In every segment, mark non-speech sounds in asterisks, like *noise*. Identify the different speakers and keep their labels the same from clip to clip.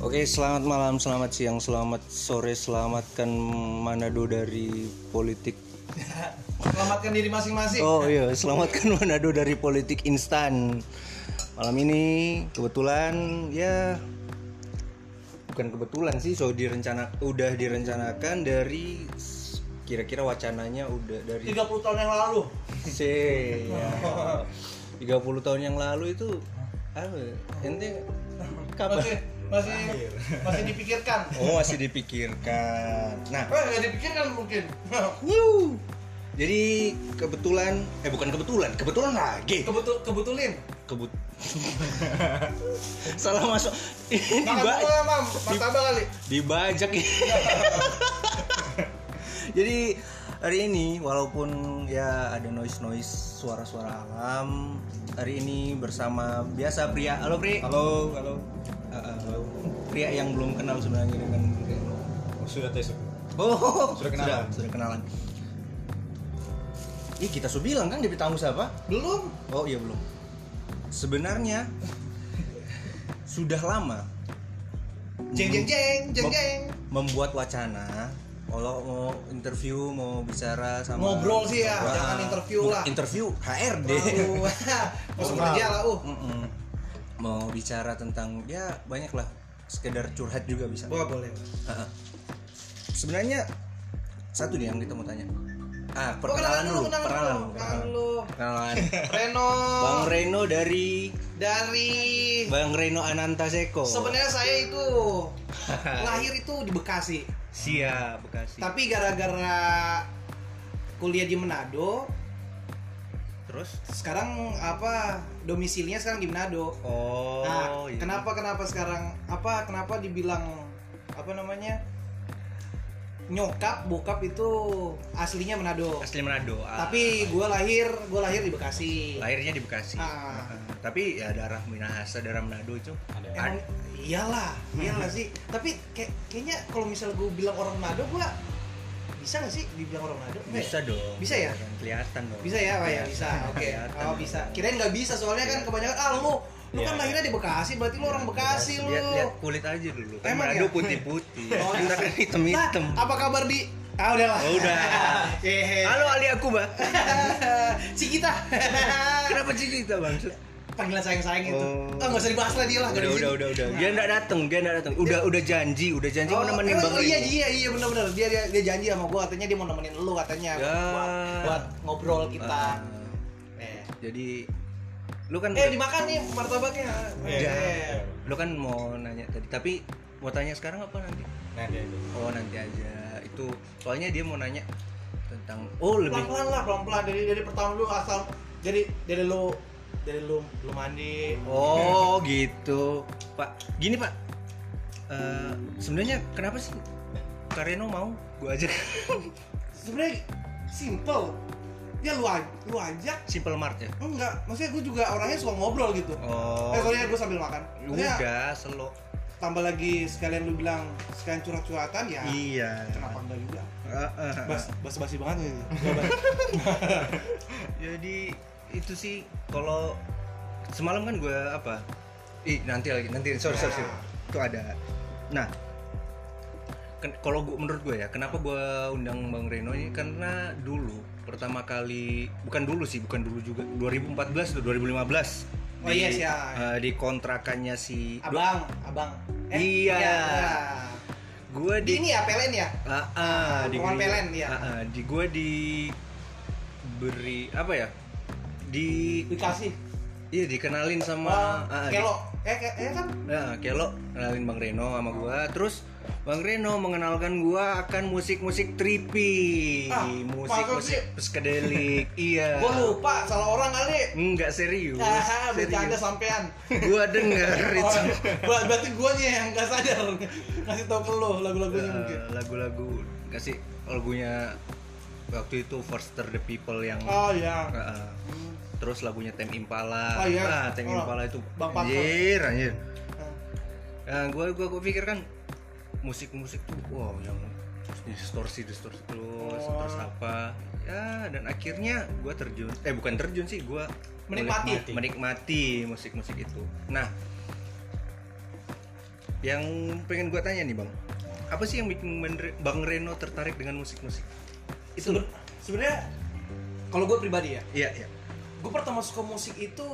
Speaker 1: Oke, selamat malam, selamat siang, selamat sore, selamatkan Manado dari politik.
Speaker 2: Selamatkan diri masing-masing.
Speaker 1: Oh iya, selamatkan *laughs* Manado dari politik instan. Malam ini kebetulan ya bukan kebetulan sih, so direncana udah direncanakan dari s- kira-kira wacananya udah dari
Speaker 2: 30 tahun yang lalu.
Speaker 1: C. ya. 30 tahun yang lalu itu apa? ya? Ente
Speaker 2: Masih
Speaker 1: kapan?
Speaker 2: masih masih dipikirkan.
Speaker 1: Oh, masih dipikirkan. Nah,
Speaker 2: Eh, nggak dipikirkan
Speaker 1: *laughs*
Speaker 2: mungkin.
Speaker 1: Wuh. Jadi kebetulan, eh bukan kebetulan, kebetulan lagi.
Speaker 2: Kebetul kebetulin.
Speaker 1: Kebut. *laughs* Salah masuk. Ini
Speaker 2: Makan
Speaker 1: diba-
Speaker 2: dulu lah, Mam. Martabak kali.
Speaker 1: dibajak. ya. *laughs* Jadi hari ini walaupun ya ada noise noise suara-suara alam, hari ini bersama biasa pria. Halo Pri.
Speaker 3: Halo, halo.
Speaker 1: Eh, eh, halo. Pria yang belum kenal sebenarnya dengan
Speaker 3: Oh, sudah tes.
Speaker 1: Oh,
Speaker 3: Sudah kenalan.
Speaker 1: Sudah, sudah kenalan. Ih, kita sudah bilang kan dia tamu siapa?
Speaker 2: Belum.
Speaker 1: Oh iya belum. Sebenarnya sudah lama
Speaker 2: Jeng jeng jeng jeng
Speaker 1: Mem-
Speaker 2: jeng.
Speaker 1: membuat wacana kalau mau interview mau bicara sama
Speaker 2: Ngobrol sih ya, jangan interview
Speaker 1: bukan
Speaker 2: lah.
Speaker 1: Interview HRD. *laughs*
Speaker 2: Lalu, masuk
Speaker 3: Formal.
Speaker 2: kerja lah, uh.
Speaker 1: Mm-mm. Mau bicara tentang ya banyak lah sekedar curhat juga bisa.
Speaker 2: Wah, boleh.
Speaker 1: Heeh. Sebenarnya satu nih yang kita mau tanya. Ah,
Speaker 2: Oh,
Speaker 1: perkenalan dulu,
Speaker 2: kenalan
Speaker 1: perkenalan,
Speaker 2: dulu, kenalan
Speaker 1: perkenalan. *laughs*
Speaker 2: dulu. *laughs*
Speaker 1: Perkenalan.
Speaker 2: Reno
Speaker 1: Bang Reno dari
Speaker 2: dari
Speaker 1: Bang Reno Ananta Seko.
Speaker 2: sebenarnya saya
Speaker 1: *laughs*
Speaker 2: itu lahir itu di Bekasi.
Speaker 1: Sia Bekasi.
Speaker 2: Tapi gara-gara kuliah di Manado,
Speaker 1: Terus
Speaker 2: sekarang apa domisilinya sekarang di Manado.
Speaker 1: oh
Speaker 2: nah,
Speaker 1: iya.
Speaker 2: kenapa kenapa sekarang apa kenapa dibilang apa namanya nyokap bokap itu aslinya Manado.
Speaker 1: asli Manado. ah.
Speaker 2: Tapi gue lahir gue lahir di Bekasi.
Speaker 1: lahirnya di Bekasi.
Speaker 2: Ah.
Speaker 1: Ah, Tapi ya darah Minahasa, darah Manado itu
Speaker 2: Emang iyalah, iyalah sih. Tapi kayak- kayaknya kalau misal gue bilang orang Manado gue bisa gak sih dibilang orang Manado? Enggak ya?
Speaker 1: bisa dong.
Speaker 2: Bisa ya?
Speaker 1: Kelihatan, Kelihatan dong.
Speaker 2: Bisa ya, Pak ya?
Speaker 1: *laughs*
Speaker 2: Bisa. Oke.
Speaker 1: Kelihatan
Speaker 2: Oh,
Speaker 1: dong.
Speaker 2: bisa. Kirain nggak bisa soalnya kan kebanyakan ah lu
Speaker 3: Iya,
Speaker 2: lu kan
Speaker 3: iya.
Speaker 2: lahirnya di Bekasi, berarti lu orang Bekasi lu.
Speaker 1: Iya, Lihat, lihat kulit aja dulu. Kan
Speaker 2: Emang
Speaker 1: Manado
Speaker 2: ya?
Speaker 1: putih-putih.
Speaker 2: Oh,
Speaker 1: Kita kan hitam-hitam.
Speaker 2: Nah, apa kabar di Ah udahlah.
Speaker 1: Oh,
Speaker 2: *laughs*
Speaker 1: udah.
Speaker 2: Hehe.
Speaker 1: Halo Ali aku, Bang.
Speaker 2: *laughs* Cikita.
Speaker 1: Kenapa sih kita, Bang?
Speaker 2: Panggilan sayang-sayang itu.
Speaker 1: Oh.
Speaker 2: Ah nggak usah dibahas lah dia lah. nggak
Speaker 1: Udah,
Speaker 2: di sini.
Speaker 1: udah, udah, udah. Dia enggak datang, dia enggak datang. Udah, udah janji, udah janji mau
Speaker 2: Oh,
Speaker 1: nemenin
Speaker 2: emang-
Speaker 1: Bang. Ah.
Speaker 2: oh, iya
Speaker 1: Rino.
Speaker 2: iya iya benar-benar dia, dia dia janji sama gua katanya dia mau nemenin lu katanya
Speaker 1: Ya.
Speaker 2: buat, buat ngobrol
Speaker 1: Ah,
Speaker 2: kita. Eh.
Speaker 1: Jadi lu kan
Speaker 2: Eh dimakan nih martabaknya.
Speaker 3: Iya.
Speaker 2: Eh.
Speaker 1: lu kan mau nanya tadi, tapi mau tanya sekarang apa nanti?
Speaker 3: Nah, dia
Speaker 4: Iya.
Speaker 3: itu.
Speaker 1: Oh, nanti aja. Itu soalnya dia mau nanya tentang oh lebih
Speaker 2: pelan-pelan lah pelan-pelan dari dari pertama lu asal jadi dari lu dari lu lu mandi
Speaker 1: Oh gitu, Pak. Gini Pak, Eh, sebenarnya kenapa sih Kareno mau gue ajak *laughs*
Speaker 2: sebenarnya simple ya lu aj- lu ajak
Speaker 1: Simple Mart ya?
Speaker 2: Oh, enggak maksudnya gue juga orangnya suka ngobrol gitu
Speaker 1: Oh,
Speaker 2: eh sorry ya gue sambil makan Maksudnya,
Speaker 1: udah selo.
Speaker 2: tambah lagi sekalian lu bilang sekalian curhat-curhatan ya
Speaker 1: Iya.
Speaker 2: kenapa enggak juga
Speaker 1: Eh, eh, eh.
Speaker 2: bas bas basi banget gitu
Speaker 1: Jadi itu sih kalau semalam kan gue apa? Ih nanti lagi nanti sorry sorry,
Speaker 2: Ya.
Speaker 1: sorry. itu ada. Nah ken- kalau gua- menurut gue ya kenapa gue undang Bang Reno ini karena dulu pertama kali bukan dulu sih bukan dulu juga 2014 atau 2015
Speaker 2: Oh,
Speaker 1: di,
Speaker 2: iya, sih, ya.
Speaker 1: eh, di kontrakannya si
Speaker 2: *laughs* abang abang Eh,
Speaker 1: Iya. gue
Speaker 2: di ini ya PLN ya
Speaker 1: Ah, ah, di
Speaker 2: Ruangan
Speaker 1: gua-
Speaker 2: PLN, iya.
Speaker 1: ah, ah, di gue diberi apa ya? Di
Speaker 2: dikasih
Speaker 1: iya dikenalin sama ah, ah, di-
Speaker 2: kelo eh ke- eh kan
Speaker 1: Nah, Kelo kenalin Bang Reno sama gua. Terus Bang Reno mengenalkan gua akan musik-musik trippy,
Speaker 2: Ah,
Speaker 1: musik-musik
Speaker 2: maksudnya- *laughs*
Speaker 1: psychedelic. iya.
Speaker 2: gue lupa salah orang kali
Speaker 1: Enggak serius.
Speaker 2: Ah, bercanda
Speaker 1: serius.
Speaker 2: sampean.
Speaker 1: Gua denger
Speaker 2: Oh, *laughs*
Speaker 1: itu.
Speaker 2: ber- berarti gue nih yang gak sadar ngasih tau ke lo lagu-lagunya mungkin.
Speaker 1: Eh, lagu-lagu kasih lagunya waktu itu Forster the People yang
Speaker 2: Oh ya.
Speaker 1: Heeh. terus lagunya Tem Impala.
Speaker 2: Oh,
Speaker 1: Ah,
Speaker 2: iya.
Speaker 1: Tem
Speaker 2: Oh,
Speaker 1: Impala itu
Speaker 2: Bang Parto.
Speaker 1: anjir, anjir. Nah, gua gua gua pikir kan musik-musik tuh wow yang distorsi distorsi terus
Speaker 2: Oh.
Speaker 1: terus apa ya dan akhirnya gua terjun eh bukan terjun sih gua menikmati
Speaker 2: Menikmati.
Speaker 1: menikmati musik-musik itu nah Yang pengen gue tanya nih bang, apa sih yang bikin Men- bang Reno tertarik dengan musik-musik?
Speaker 2: itu sebenarnya kalau gue pribadi ya
Speaker 1: Iya iya.
Speaker 2: gue pertama suka musik itu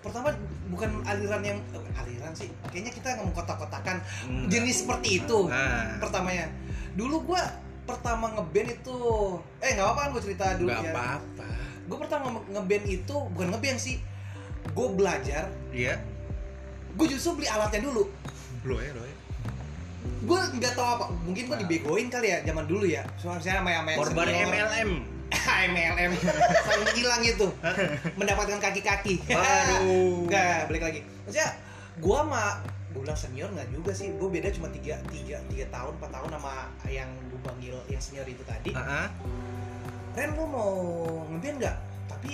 Speaker 2: pertama bukan aliran yang eh, aliran sih kayaknya kita nggak mau kotak-kotakan
Speaker 1: Hmm.
Speaker 2: jenis seperti itu
Speaker 1: Ah.
Speaker 2: pertamanya dulu gue pertama ngeband itu eh nggak apa-apa kan gue cerita dulu
Speaker 1: Gak
Speaker 2: ya
Speaker 1: apa-apa.
Speaker 2: gue pertama ngeband itu bukan ngeband sih gue belajar
Speaker 1: Iya.
Speaker 2: gue justru beli alatnya dulu
Speaker 1: Lo ya lo ya.
Speaker 2: gue nggak tahu apa mungkin gue dibegoin kali ya zaman dulu ya soalnya sama sama
Speaker 1: Korban
Speaker 2: senior.
Speaker 1: MLM.
Speaker 2: *laughs* MLM saling hilang itu mendapatkan kaki-kaki
Speaker 1: Aduh.
Speaker 2: *laughs* Enggak, balik lagi. Maksudnya gua sama gua bilang senior nggak juga sih. Gua beda cuma 3 3 3 tahun 4 tahun sama yang gua panggil yang senior itu tadi.
Speaker 1: Ah, ah.
Speaker 2: Ren lu mau ngeband nggak? Tapi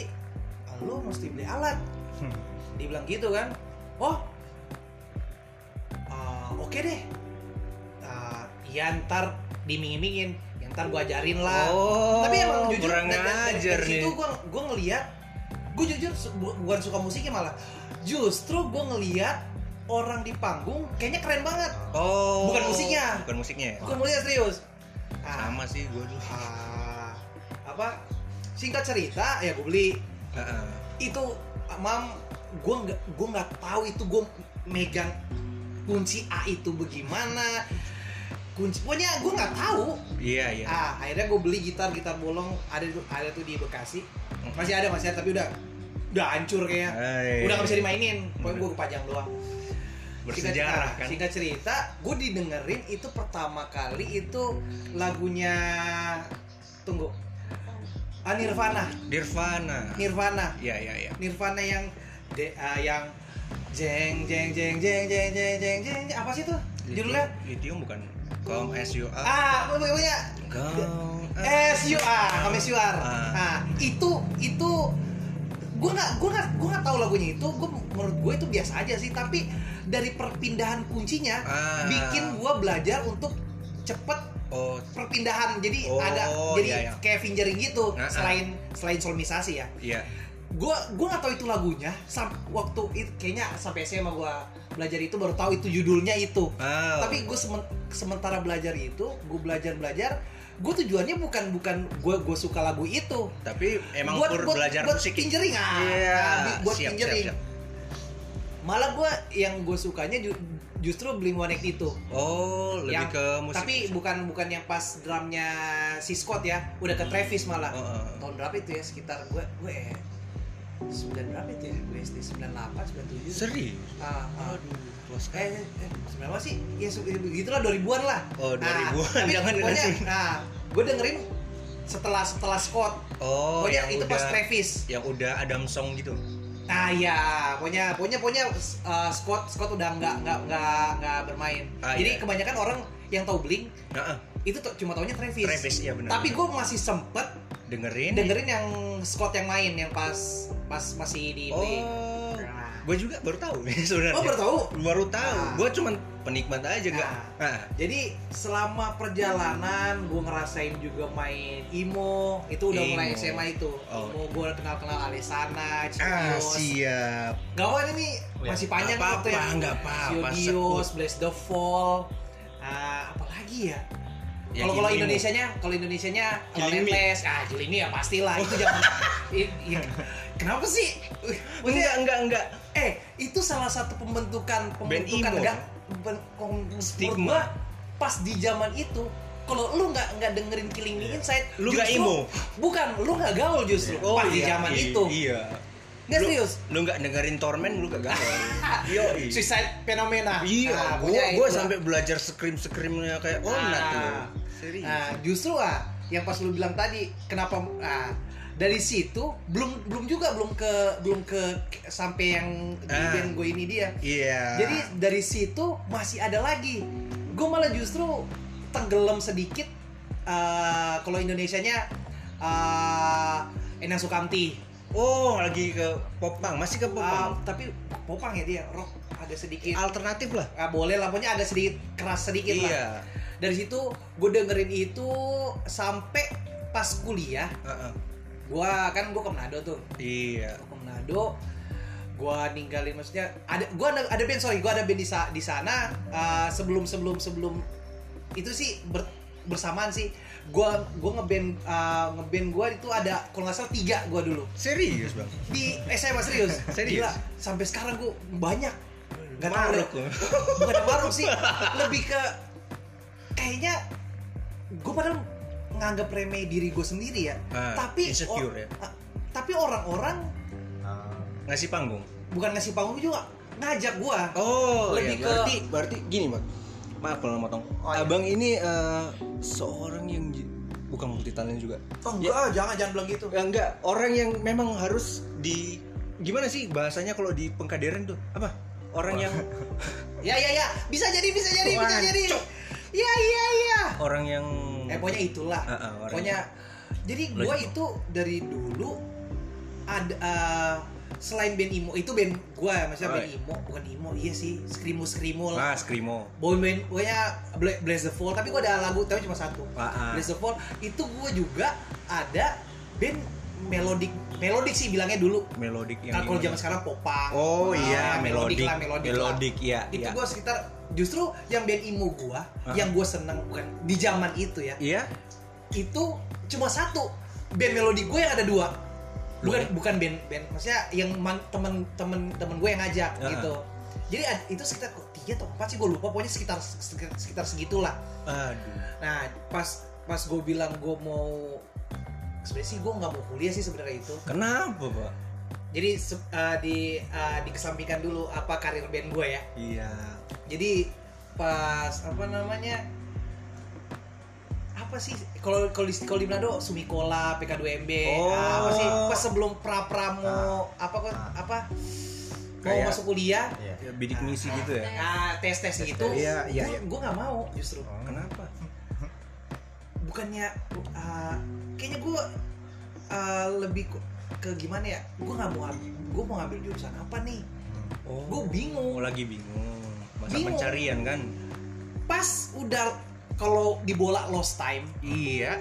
Speaker 2: eh, lu mesti beli alat.
Speaker 1: Hmm.
Speaker 2: Dibilang gitu kan. Oh. eh, oke deh. Eh, ya ntar dimingin-mingin. Ya ntar gua ajarin lah
Speaker 1: Oh.
Speaker 2: tapi emang jujur
Speaker 1: kurang
Speaker 2: dari, dari,
Speaker 1: ajar
Speaker 2: dari
Speaker 1: nih.
Speaker 2: situ gue gue ngeliat gue jujur su- bu- bukan suka musiknya malah justru gue ngeliat orang di panggung kayaknya keren banget
Speaker 1: Oh.
Speaker 2: Bukan musiknya.
Speaker 1: Bukan musiknya ya.
Speaker 2: gue ngeliat serius Ah,
Speaker 1: Sama sih gue dulu.
Speaker 2: ah, apa singkat cerita ya gue beli
Speaker 1: Ah, ah.
Speaker 2: itu ah, mam gue nggak gue nggak tahu itu gue megang kunci A itu bagaimana kunci pokoknya gue nggak tahu
Speaker 1: Iya iya.
Speaker 2: Ah, akhirnya gue beli gitar gitar bolong ada ada tuh di Bekasi.
Speaker 1: Hmm.
Speaker 2: Masih ada masih ada tapi udah udah hancur kayaknya.
Speaker 1: Hai.
Speaker 2: Udah gak bisa dimainin. Pokoknya gue kepajang doang. Singkat-
Speaker 1: Bersejarah
Speaker 2: ah,
Speaker 1: kan.
Speaker 2: Singkat cerita, gue didengerin itu pertama kali itu lagunya tunggu. Ah, Nirvana,
Speaker 1: Nirvana.
Speaker 2: Nirvana,
Speaker 1: Iya iya iya.
Speaker 2: Nirvana yang de, ah, yang jeng jeng jeng jeng jeng jeng jeng jeng jeng. apa sih tuh
Speaker 1: Iya.
Speaker 2: judulnya?
Speaker 1: Lithium bukan. Come as you are.
Speaker 2: Ah, Eh, pokoknya
Speaker 1: Come as-
Speaker 2: SUR, kami SUR.
Speaker 1: Ah.
Speaker 2: Nah, itu itu gue nggak gue nggak gue nggak tahu lagunya itu. Gue menurut gue itu biasa aja sih. Tapi dari perpindahan kuncinya
Speaker 1: Ah.
Speaker 2: bikin gue belajar untuk cepet
Speaker 1: Oh,
Speaker 2: perpindahan. Jadi
Speaker 1: Oh,
Speaker 2: ada
Speaker 1: iya,
Speaker 2: jadi
Speaker 1: iya.
Speaker 2: kayak fingering gitu.
Speaker 1: Ah, ah.
Speaker 2: Selain selain solmisasi ya.
Speaker 1: iya.
Speaker 2: Gue gue nggak tahu itu lagunya. Sam, waktu it- kayaknya sampai SMA gue belajar itu baru tahu itu judulnya itu
Speaker 1: Oh.
Speaker 2: tapi gue sementara belajar itu gue belajar belajar gue tujuannya bukan bukan gue gue suka lagu itu
Speaker 1: tapi emang
Speaker 2: buat,
Speaker 1: pur
Speaker 2: buat,
Speaker 1: belajar
Speaker 2: buat
Speaker 1: musik. ya?
Speaker 2: pinjering ah
Speaker 1: Iya,
Speaker 2: Ah, buat
Speaker 1: siap,
Speaker 2: pinjering
Speaker 1: siap, siap.
Speaker 2: malah gue yang gue sukanya ju- justru Blink One itu
Speaker 1: Oh, lebih
Speaker 2: Yang-
Speaker 1: ke musik.
Speaker 2: tapi bukan bukan yang pas drumnya si Scott ya udah ke Travis malah
Speaker 1: Oh, oh.
Speaker 2: tahun berapa itu ya sekitar gue gue sembilan berapa itu ya gue SD sembilan delapan sembilan tujuh
Speaker 1: serius.
Speaker 2: Ah, ah.
Speaker 1: Aduh, puas
Speaker 2: eh,
Speaker 1: sekali.
Speaker 2: eh, eh, sebenarnya sih ya se- begitulah 2000-an lah. Nah,
Speaker 1: Oh, 2000-an,
Speaker 2: tapi
Speaker 1: jangan
Speaker 2: pokoknya,
Speaker 1: dikasih.
Speaker 2: Nah, gue dengerin setelah setelah Scott.
Speaker 1: Oh,
Speaker 2: pokoknya
Speaker 1: yang
Speaker 2: itu
Speaker 1: udah
Speaker 2: pas Travis.
Speaker 1: yang udah Adam Song gitu.
Speaker 2: Nah, ya, pokoknya pokoknya pokoknya uh, Scott Scott udah nggak nggak nggak nggak bermain.
Speaker 1: Ah,
Speaker 2: Jadi
Speaker 1: iya.
Speaker 2: kebanyakan orang yang tahu Blink
Speaker 1: Nah, ah,
Speaker 2: itu tuh cuma taunya Travis.
Speaker 1: Travis iya benar.
Speaker 2: Tapi gue masih sempet
Speaker 1: dengerin.
Speaker 2: dengerin yang Scott yang main yang pas pas masih di Blink.
Speaker 1: Oh.
Speaker 2: Nah.
Speaker 1: Gue juga baru tahu sebenarnya.
Speaker 2: Oh, baru tahu.
Speaker 1: Baru tahu.
Speaker 2: Ah.
Speaker 1: Gue cuman penikmat aja enggak. Ah.
Speaker 2: Jadi selama perjalanan gue ngerasain juga main emo itu udah mulai
Speaker 1: Emo.
Speaker 2: SMA itu.
Speaker 1: Oh.
Speaker 2: Emo gue kenal-kenal Alesana,
Speaker 1: Ah,
Speaker 2: Ciodios.
Speaker 1: siap.
Speaker 2: Gawan ini masih panjang
Speaker 1: Nggak
Speaker 2: waktu ya.
Speaker 1: apa-apa, nggak apa-apa,
Speaker 2: Ciodios, Bless the Fall. Ah, apalagi ya?
Speaker 1: Ya,
Speaker 2: Kalau kalau
Speaker 1: ini-
Speaker 2: Indonesianya, kalau Indonesianya
Speaker 1: Jilimi.
Speaker 2: Loneliness, ah Jilimi ya pastilah
Speaker 1: *laughs*
Speaker 2: itu jangan. I- i- Kenapa sih?
Speaker 1: Enggak, enggak, enggak.
Speaker 2: Eh, itu salah satu pembentukan pembentukan
Speaker 1: emo.
Speaker 2: enggak ben, kom-
Speaker 1: ya? Stigma.
Speaker 2: menurut gua, pas di zaman itu kalau lu nggak nggak dengerin Killing Me Inside
Speaker 1: Iya. Lu nggak
Speaker 2: justru-
Speaker 1: emo.
Speaker 2: bukan lu nggak gaul justru pas di
Speaker 1: iya,
Speaker 2: zaman
Speaker 1: iya,
Speaker 2: itu
Speaker 1: Iya.
Speaker 2: nggak
Speaker 1: Lu-
Speaker 2: serius
Speaker 1: Lu nggak dengerin Torment lu gak
Speaker 2: *laughs*
Speaker 1: gagal. Yo.
Speaker 2: suicide fenomena
Speaker 1: Iya,
Speaker 2: Nah,
Speaker 1: gua
Speaker 2: punya
Speaker 1: gua
Speaker 2: itu.
Speaker 1: sampai belajar scream-screamnya kayak oh nah, tuh.
Speaker 2: Ah.
Speaker 1: Serius.
Speaker 2: nah justru ah yang pas lu bilang tadi kenapa ah, dari situ belum belum juga belum ke belum ke sampai yang di
Speaker 1: Ah.
Speaker 2: band gue ini dia
Speaker 1: Iya.
Speaker 2: Jadi dari situ masih ada lagi. Gue malah justru tenggelam sedikit eh, kalau Indonesianya eh Enang Sukamti.
Speaker 1: oh, lagi ke popang, masih ke
Speaker 2: Eh,
Speaker 1: popang.
Speaker 2: tapi popang ya dia, rock agak sedikit.
Speaker 1: Alternatif lah.
Speaker 2: Ah, boleh lah, pokoknya agak sedikit keras sedikit lah.
Speaker 1: Iya.
Speaker 2: Dari situ gue dengerin itu sampai pas kuliah.
Speaker 1: Heeh.
Speaker 2: Gua kan gue ke Manado tuh.
Speaker 1: Iya.
Speaker 2: Gua ke Manado. gua ninggalin maksudnya ada gua ada, ada band sorry gua ada band di, sa- di sana eh, sebelum sebelum sebelum itu sih ber- bersamaan sih gua gua ngeband eh, ngeband gua itu ada kalau nggak salah tiga gua dulu
Speaker 1: Serius bang?
Speaker 2: di SMA serius
Speaker 1: Serius?
Speaker 2: Gila, sampai sekarang gua banyak Gak tahu
Speaker 1: Maruk ya.
Speaker 2: deh.
Speaker 1: lo.
Speaker 2: *laughs* bukan maruk sih lebih ke kayaknya gue padahal nganggap remeh diri gue sendiri ya
Speaker 1: Ah,
Speaker 2: tapi
Speaker 1: insecure ya.
Speaker 2: ah, tapi orang-orang
Speaker 1: Ngasih panggung.
Speaker 2: bukan ngasih panggung juga ngajak gue
Speaker 1: Oh, iya.
Speaker 2: Lebih ke-
Speaker 1: berarti berarti gini, Bang. Maaf kalau motong.
Speaker 4: Oh, iya.
Speaker 1: Abang ini eh, seorang yang j- bukan multi talent juga.
Speaker 4: Oh enggak, ah, jangan jangan bilang gitu.
Speaker 1: Ya enggak, orang yang memang harus di gimana sih bahasanya kalau di pengkaderan tuh? Apa? Orang yang
Speaker 2: ya ya ya bisa jadi bisa jadi bisa
Speaker 1: Wah,
Speaker 2: jadi ya ya ya
Speaker 1: orang yang
Speaker 2: *laughs* eh pokoknya itulah
Speaker 1: Ah, ah, orang-
Speaker 2: pokoknya jadi gue
Speaker 1: Lanjut.
Speaker 2: itu dari dulu ada eh, selain band emo itu band gue maksudnya
Speaker 1: Oh,
Speaker 2: band emo bukan emo iya sih skrimo skrimo
Speaker 1: Ah,
Speaker 2: lah
Speaker 1: skrimo.
Speaker 2: Boy Band, pokoknya Bla- Blaze the Fall, tapi gue ada lagu, tapi cuma satu.
Speaker 1: Ah, ah.
Speaker 2: Blaze the Fall, itu gue juga ada band melodic, melodic sih bilangnya dulu.
Speaker 1: Melodik yang
Speaker 2: Kan kalau
Speaker 1: gimana?
Speaker 2: zaman sekarang popa.
Speaker 1: Oh iya,
Speaker 2: melodic
Speaker 1: melodik.
Speaker 2: lah, melodic,
Speaker 1: Melodik, iya,
Speaker 2: lah. Itu
Speaker 1: iya.
Speaker 2: gue sekitar justru yang band emo gue,
Speaker 1: Ah.
Speaker 2: yang gue seneng bukan di zaman itu ya,
Speaker 1: Iya?
Speaker 2: itu cuma satu band melodi gue yang ada dua. Bukan bukan band band, maksudnya yang man- temen temen temen gue yang ngajak
Speaker 1: Ah.
Speaker 2: gitu. Jadi ad- itu sekitar tiga atau empat sih gue lupa, pokoknya sekitar sekitar, sekitar segitulah.
Speaker 1: Aduh.
Speaker 2: Nah, pas pas gue bilang gue mau sebenarnya sih gue nggak mau kuliah sih sebenarnya itu.
Speaker 1: Kenapa, Pak?
Speaker 2: Jadi se- eh, di eh, dikesampingkan dulu apa karir band gue ya.
Speaker 1: Iya.
Speaker 2: Jadi pas apa namanya apa sih kalau kalau di kalau di Manado Sumikola PK2MB
Speaker 1: Oh.
Speaker 2: ah,
Speaker 1: Nah.
Speaker 2: apa sih pas sebelum pra pra mau apa kok
Speaker 4: Ah.
Speaker 2: apa mau
Speaker 1: Kayak-
Speaker 2: masuk kuliah
Speaker 4: Iya.
Speaker 1: Ya, bidik misi gitu ya.
Speaker 2: nah tes tes gitu
Speaker 1: Iya, iya, iya.
Speaker 2: gue nggak mau justru
Speaker 1: Kenapa?
Speaker 2: bukannya uh, kayaknya gue lebih ke, ke gimana ya gue nggak mau gue mau ngambil jurusan apa nih
Speaker 1: Oh.
Speaker 2: gue
Speaker 1: Oh,
Speaker 2: bingung
Speaker 1: lagi bingung. Masa
Speaker 2: Bingung.
Speaker 1: pencarian kan?
Speaker 2: pas udah kalau di bola lost time
Speaker 1: Iya.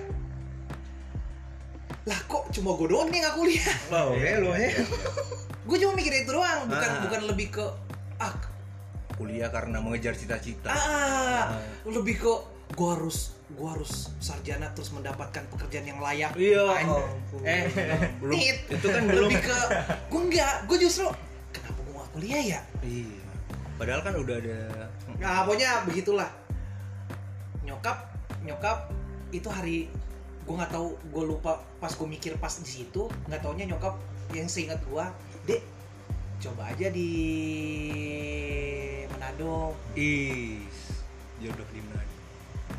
Speaker 2: lah kok cuma gue doang nih nggak kuliah *laughs*
Speaker 1: Wow, lo ya.
Speaker 2: gue cuma mikir itu doang bukan
Speaker 1: Ah.
Speaker 2: bukan lebih ke ah
Speaker 1: Kuliah karena mengejar cita-cita.
Speaker 2: ah
Speaker 1: Ah.
Speaker 2: lebih ke gue harus gue harus sarjana terus mendapatkan pekerjaan yang layak
Speaker 1: Iya.
Speaker 2: Anjir.
Speaker 1: ampun.
Speaker 2: eh *laughs*
Speaker 1: belum.
Speaker 2: tit.
Speaker 1: Itu kan belum.
Speaker 2: lebih ke gue nggak gue justru kenapa gue nggak kuliah ya
Speaker 1: Iya. Padahal kan udah ada.
Speaker 2: Nah, pokoknya begitulah. Nyokap, nyokap itu hari gue nggak tahu gue lupa pas gue mikir pas di situ nggak taunya nyokap yang seingat gue dek coba aja di Manado
Speaker 1: Ih. Jodoh di mana?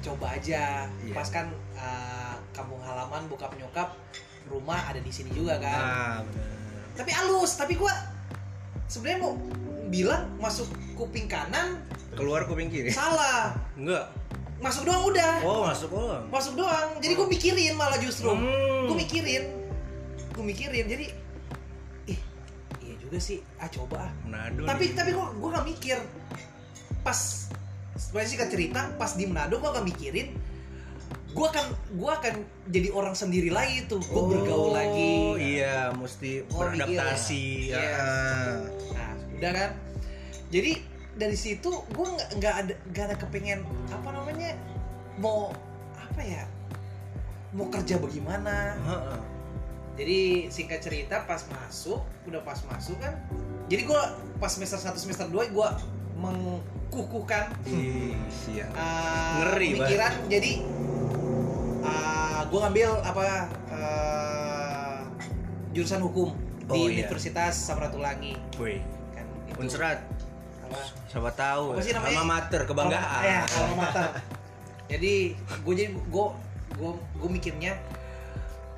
Speaker 2: coba aja
Speaker 1: Iya.
Speaker 2: pas kan uh, kampung halaman bokap nyokap rumah ada di sini juga kan
Speaker 1: Ah, benar.
Speaker 2: tapi halus tapi gue sebenarnya mau bilang masuk kuping kanan
Speaker 1: Keluar kuping kiri.
Speaker 2: salah
Speaker 1: Enggak.
Speaker 2: masuk doang udah
Speaker 1: Oh, masuk oh.
Speaker 2: masuk doang jadi gue mikirin malah justru
Speaker 1: Hmm.
Speaker 2: gue mikirin gue mikirin jadi ih iya juga sih ah coba ah
Speaker 1: Manado.
Speaker 2: tapi
Speaker 1: nih.
Speaker 2: tapi gue gue gak mikir pas sebenarnya sih cerita pas di Manado gue gak mikirin gue akan gue akan jadi orang sendiri lagi tuh gue
Speaker 1: Oh,
Speaker 2: bergaul lagi
Speaker 1: Iya, mesti
Speaker 2: Oh, mikir ya.
Speaker 1: beradaptasi.
Speaker 2: Yes.
Speaker 1: Ah.
Speaker 2: nah udah kan jadi dari situ gue nggak nggak ada nggak ada kepengen apa namanya mau apa ya mau kerja bagaimana
Speaker 1: Heeh.
Speaker 2: Jadi singkat cerita pas masuk, udah pas masuk kan. Jadi gua pas semester 1 semester 2 gua mengkukuhkan
Speaker 1: Ih, iya.
Speaker 2: uh,
Speaker 1: Ngeri, Bang.
Speaker 2: pemikiran. Jadi uh, gua ngambil apa uh, jurusan hukum di
Speaker 1: Oh, iya.
Speaker 2: Universitas Samratulangi
Speaker 1: Woi,
Speaker 2: kan. itu.
Speaker 1: Unsrat.
Speaker 2: Apa?
Speaker 1: Siapa tahu.
Speaker 2: Apa sih namanya?
Speaker 1: Alma mater kebanggaan.
Speaker 2: Ya, alma mater. jadi gua jadi gua gua gua mikirnya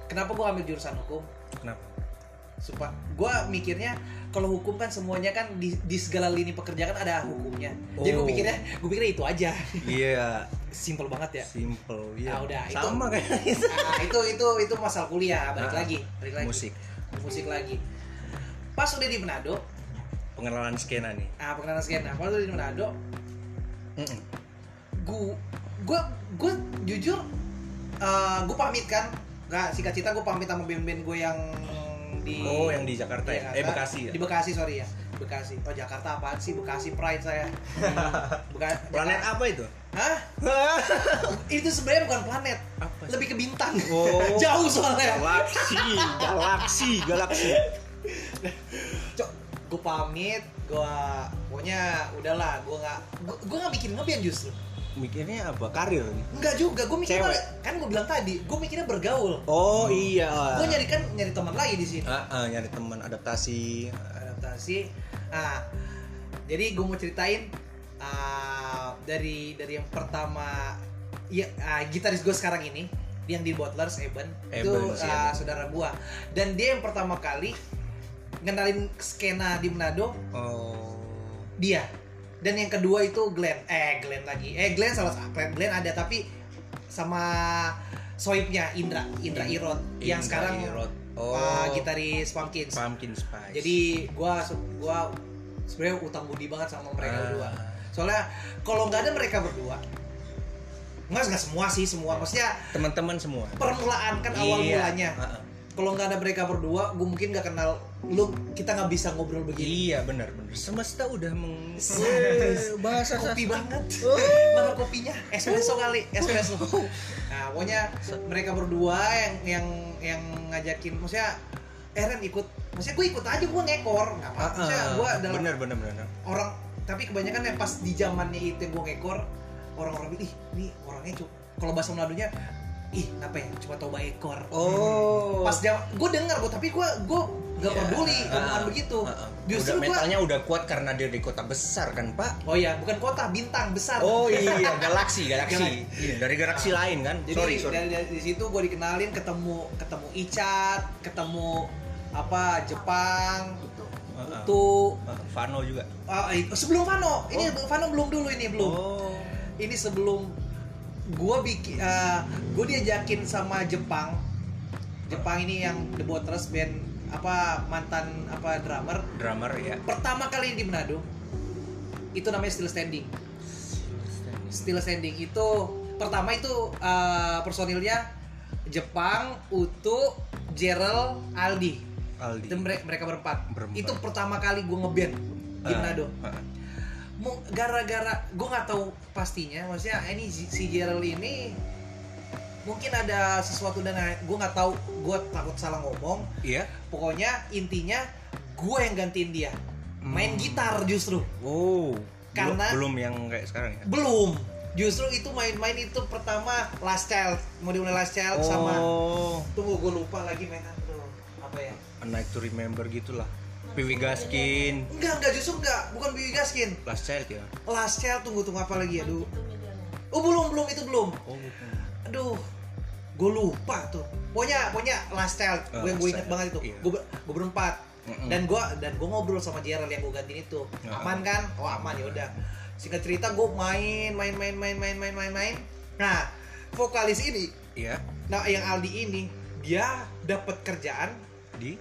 Speaker 2: kenapa gua ambil jurusan hukum?
Speaker 1: Kenapa?
Speaker 2: Sumpah, gue mikirnya kalau hukum kan semuanya kan di, di segala lini pekerjaan ada hukumnya. Jadi
Speaker 1: Oh.
Speaker 2: gue pikirnya, gue pikirnya itu aja.
Speaker 1: Iya,
Speaker 2: Simple
Speaker 1: *laughs*
Speaker 2: banget ya.
Speaker 1: simple. Iya.
Speaker 2: Ah, udah, itu-
Speaker 1: Sama kayak gitu.
Speaker 2: Nah, itu itu itu masalah kuliah balik
Speaker 1: Ah,
Speaker 2: lagi, balik lagi.
Speaker 1: musik.
Speaker 2: Musik lagi. Pas udah di Manado,
Speaker 1: Pengenalan skena nih.
Speaker 2: ah pengenalan sekian. Nah, pas udah di Manado,
Speaker 1: Mm-mm.
Speaker 2: gue gue gue eh, jujur gue pamit kan nggak singkat cerita gue pamit sama band-band gue yang di
Speaker 1: oh yang di Jakarta ya eh
Speaker 2: Jakarta.
Speaker 1: Bekasi ya
Speaker 2: Iya, Di Bekasi sorry ya. Bekasi. Oh Jakarta apaan sih? Bekasi pride
Speaker 1: *laughs*
Speaker 2: saya. Bukan
Speaker 1: planet apa
Speaker 2: *laughs*
Speaker 1: itu
Speaker 2: Hah? Itu sebenarnya bukan planet.
Speaker 1: Apa sih?
Speaker 2: Lebih ke bintang.
Speaker 1: Oh.
Speaker 2: *laughs* Jauh soalnya.
Speaker 1: galaksi galaksi galaksi
Speaker 2: Cok, gue pamit, gue pokoknya udahlah, gue nggak gue- gue nggak bikin ngeband justru.
Speaker 1: mikirnya apa karir
Speaker 2: Enggak juga, gue mikirnya
Speaker 1: Cewek.
Speaker 2: kan gue bilang tadi, gue mikirnya bergaul.
Speaker 1: oh
Speaker 2: Hmm.
Speaker 1: iya
Speaker 2: Gue nyari kan nyari teman lagi di sini.
Speaker 1: Ah, ah, nyari teman adaptasi
Speaker 2: Adaptasi. Nah, jadi gue mau ceritain ah, dari dari yang pertama ya ah, gitaris gue sekarang ini yang di Bottlers Eben, itu
Speaker 1: Eben, si
Speaker 2: ah,
Speaker 1: Eben.
Speaker 2: saudara gua dan dia yang pertama kali ngenalin skena di Manado
Speaker 1: oh
Speaker 2: dia dan yang kedua itu Glenn eh Glenn lagi eh Glenn salah Glenn, Glenn ada tapi sama soibnya Indra Indra Irot yang
Speaker 1: Indra
Speaker 2: sekarang
Speaker 1: Irot. oh
Speaker 2: uh, gitaris Pumpkins
Speaker 1: pumpkin spice
Speaker 2: jadi gua gua sebenarnya utang budi banget sama mereka
Speaker 1: Ah.
Speaker 2: berdua soalnya kalau nggak ada mereka berdua nggak nggak semua sih semua maksudnya
Speaker 1: teman-teman semua
Speaker 2: permulaan kan awal
Speaker 1: Iya.
Speaker 2: mulanya
Speaker 1: Ah, ah.
Speaker 2: kalau nggak ada mereka berdua gue mungkin nggak kenal lu kita nggak bisa ngobrol begini
Speaker 1: Iya benar benar. Semesta udah meng Eh,
Speaker 2: Wih,
Speaker 1: bahasa
Speaker 2: kopi banget
Speaker 1: Oh.
Speaker 2: mana kopinya espresso kali espresso nah pokoknya mereka berdua yang yang yang ngajakin maksudnya eh Ren ikut maksudnya gue ikut aja gue ngekor nggak
Speaker 1: Ah,
Speaker 2: apa maksudnya gue dalam
Speaker 1: benar benar benar.
Speaker 2: orang tapi kebanyakan yang pas di zamannya itu gue ngekor orang-orang bilang ih ini orangnya cuma kalau bahasa Meladunya ih apa ya cuma toba ekor
Speaker 1: Oh.
Speaker 2: pas jam gue dengar gue tapi gue gue nggak
Speaker 1: Iya.
Speaker 2: peduli
Speaker 1: Ah,
Speaker 2: omongan
Speaker 1: ah,
Speaker 2: begitu
Speaker 1: ah, ah.
Speaker 2: justru
Speaker 1: udah,
Speaker 2: gue
Speaker 1: mentalnya udah kuat karena dia di kota besar kan pak.
Speaker 2: oh ya bukan kota bintang besar
Speaker 1: Oh iya *laughs* galaksi galaksi.
Speaker 2: Galaksi.
Speaker 1: Iya, dari galaksi lain kan.
Speaker 2: Jadi
Speaker 1: sorry sorry.
Speaker 2: dari, dari situ gue dikenalin ketemu ketemu Icat, ketemu apa Jepang,
Speaker 1: Ah, ah.
Speaker 2: tuh
Speaker 1: Ah, Vano juga.
Speaker 2: ah, eh, sebelum Vano. Ini Vano belum dulu ini belum.
Speaker 1: Oh.
Speaker 2: Ini sebelum gue bikin gue diajakin sama Jepang. Jepang ini yang The Bottlers band apa mantan apa drummer
Speaker 1: Drummer ya.
Speaker 2: pertama kali di Manado itu namanya Still Standing. Still Standing itu pertama itu eh, personilnya Jepang, Utu, Gerald, Aldi.
Speaker 1: Aldi.
Speaker 2: Itu mere- mereka berempat.
Speaker 1: Berempat.
Speaker 2: Itu pertama kali gue ngeband di
Speaker 1: Ah,
Speaker 2: Manado.
Speaker 1: ah.
Speaker 2: Mu- Gara-gara gue nggak tahu pastinya, maksudnya "Ah, ini si si Gerald ini mungkin ada sesuatu dan gue nggak tahu, gue takut salah ngomong.
Speaker 1: Iya.
Speaker 2: Pokoknya intinya gue yang gantiin dia. Main
Speaker 1: Hmm.
Speaker 2: gitar justru.
Speaker 1: Wow.
Speaker 2: Karena-
Speaker 1: belum yang kayak sekarang ya.
Speaker 2: Belum. Justru itu main-main itu pertama Last Child, mau dimulai Last Child sama
Speaker 1: Oh.
Speaker 2: Tunggu gue lupa lagi mainan tuh apa ya?
Speaker 1: A Night to Remember gitulah. Piwi Gaskin.
Speaker 2: Enggak enggak justru enggak bukan Bibi Gaskin.
Speaker 1: Last Child ya.
Speaker 2: Last Child tunggu tunggu apa lagi ya Aduh. Oh belum belum itu belum.
Speaker 1: Oh bukan.
Speaker 2: Aduh gue lupa tuh. Pokoknya pokoknya Last Child
Speaker 1: Ah,
Speaker 2: gue
Speaker 1: Last
Speaker 2: gue inget
Speaker 1: Child.
Speaker 2: banget itu.
Speaker 1: Iya.
Speaker 2: Gue gue berempat
Speaker 1: Mm-mm.
Speaker 2: dan gue dan gue ngobrol sama Gerald yang gue gantiin itu
Speaker 1: Ah.
Speaker 2: aman kan? Oh aman ya udah. Singkat cerita gue main main main main main main main main. Nah vokalis ini,
Speaker 1: Iya.
Speaker 2: nah yang Aldi ini dia dapat kerjaan
Speaker 1: Di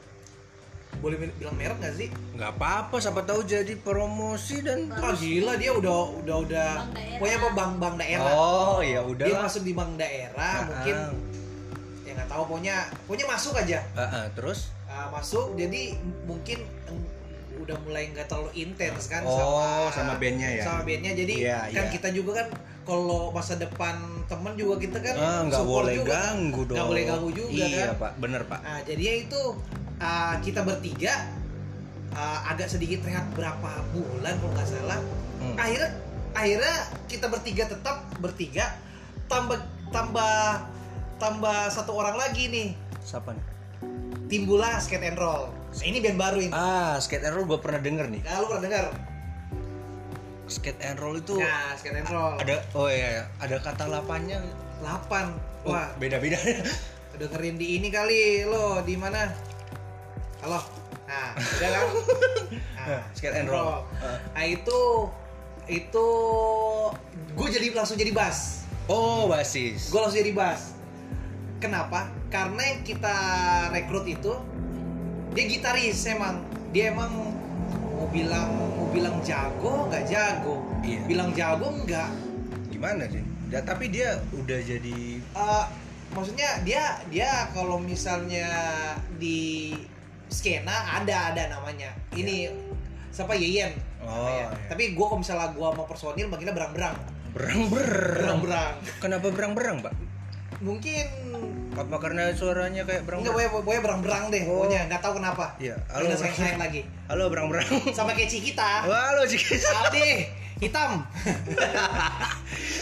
Speaker 2: boleh bilang merek gak sih?
Speaker 1: nggak apa-apa siapa tahu jadi promosi dan
Speaker 2: Wah gila dia udah udah udah
Speaker 5: Bank daerah.
Speaker 2: pokoknya apa bank bank daerah.
Speaker 1: oh ya
Speaker 2: dia
Speaker 1: udah
Speaker 2: masuk di bank
Speaker 1: Ah,
Speaker 2: daerah mungkin ya nggak tahu pokoknya pokoknya masuk aja
Speaker 1: terus
Speaker 2: Ah, masuk jadi mungkin eng- udah mulai nggak terlalu intens kan
Speaker 1: oh sama bandnya ya
Speaker 2: sama bandnya jadi
Speaker 1: Iya,
Speaker 2: kan
Speaker 1: iya.
Speaker 2: kita juga kan kalau masa depan temen juga kita kan
Speaker 1: Ah, nggak
Speaker 2: support
Speaker 1: boleh
Speaker 2: juga.
Speaker 1: ganggu dong
Speaker 2: Nggak boleh ganggu juga,
Speaker 1: iya
Speaker 2: kan?
Speaker 1: pak bener pak
Speaker 2: Nah, jadinya itu ah, kita bertiga ah, agak sedikit rehat berapa bulan kalau nggak salah
Speaker 1: Hmm.
Speaker 2: akhirnya akhirnya kita bertiga tetap bertiga tambah tambah tambah satu orang lagi nih
Speaker 1: siapa nih
Speaker 2: timbullah skate and roll Nah, ini band baru ini
Speaker 1: ah skate and roll gue pernah denger nih
Speaker 2: nah, lu pernah dengar
Speaker 1: skate and roll itu
Speaker 2: nah skate and roll
Speaker 1: ada oh iya, iya. ada kata Oh, lapannya
Speaker 2: 8
Speaker 1: wah
Speaker 2: wah
Speaker 1: beda beda
Speaker 2: dengerin di ini kali lo di mana halo nah udah
Speaker 1: *laughs*
Speaker 2: kan nah,
Speaker 1: *laughs* skate and roll
Speaker 2: nah itu itu gue jadi langsung jadi bass
Speaker 1: oh basis
Speaker 2: gue langsung jadi bass kenapa karena yang kita rekrut itu dia gitaris emang dia emang mau bilang mau bilang jago nggak jago
Speaker 1: Iya.
Speaker 2: bilang jago nggak
Speaker 1: gimana sih Ya, tapi dia udah jadi
Speaker 2: Eh, maksudnya dia dia kalau misalnya di skena ada ada namanya ini siapa Yeyen
Speaker 1: Iya. Oh,
Speaker 2: namanya.
Speaker 1: iya.
Speaker 2: tapi gue kalau misalnya gue mau personil manggilnya berang-berang
Speaker 1: berang-berang.
Speaker 2: berang-berang
Speaker 1: Kenapa berang-berang, Pak?
Speaker 2: mungkin
Speaker 1: Apa karena suaranya kayak
Speaker 2: enggak
Speaker 1: berang-berang?
Speaker 2: boy boy berang-berang deh
Speaker 1: Oh.
Speaker 2: pokoknya nggak tahu kenapa
Speaker 1: Iya, halo.
Speaker 2: udah sayang sayang
Speaker 1: *laughs*
Speaker 2: lagi
Speaker 1: Halo berang-berang.
Speaker 2: sama kayak Cikita
Speaker 1: Halo, Cikis. *laughs*
Speaker 2: Aldi hitam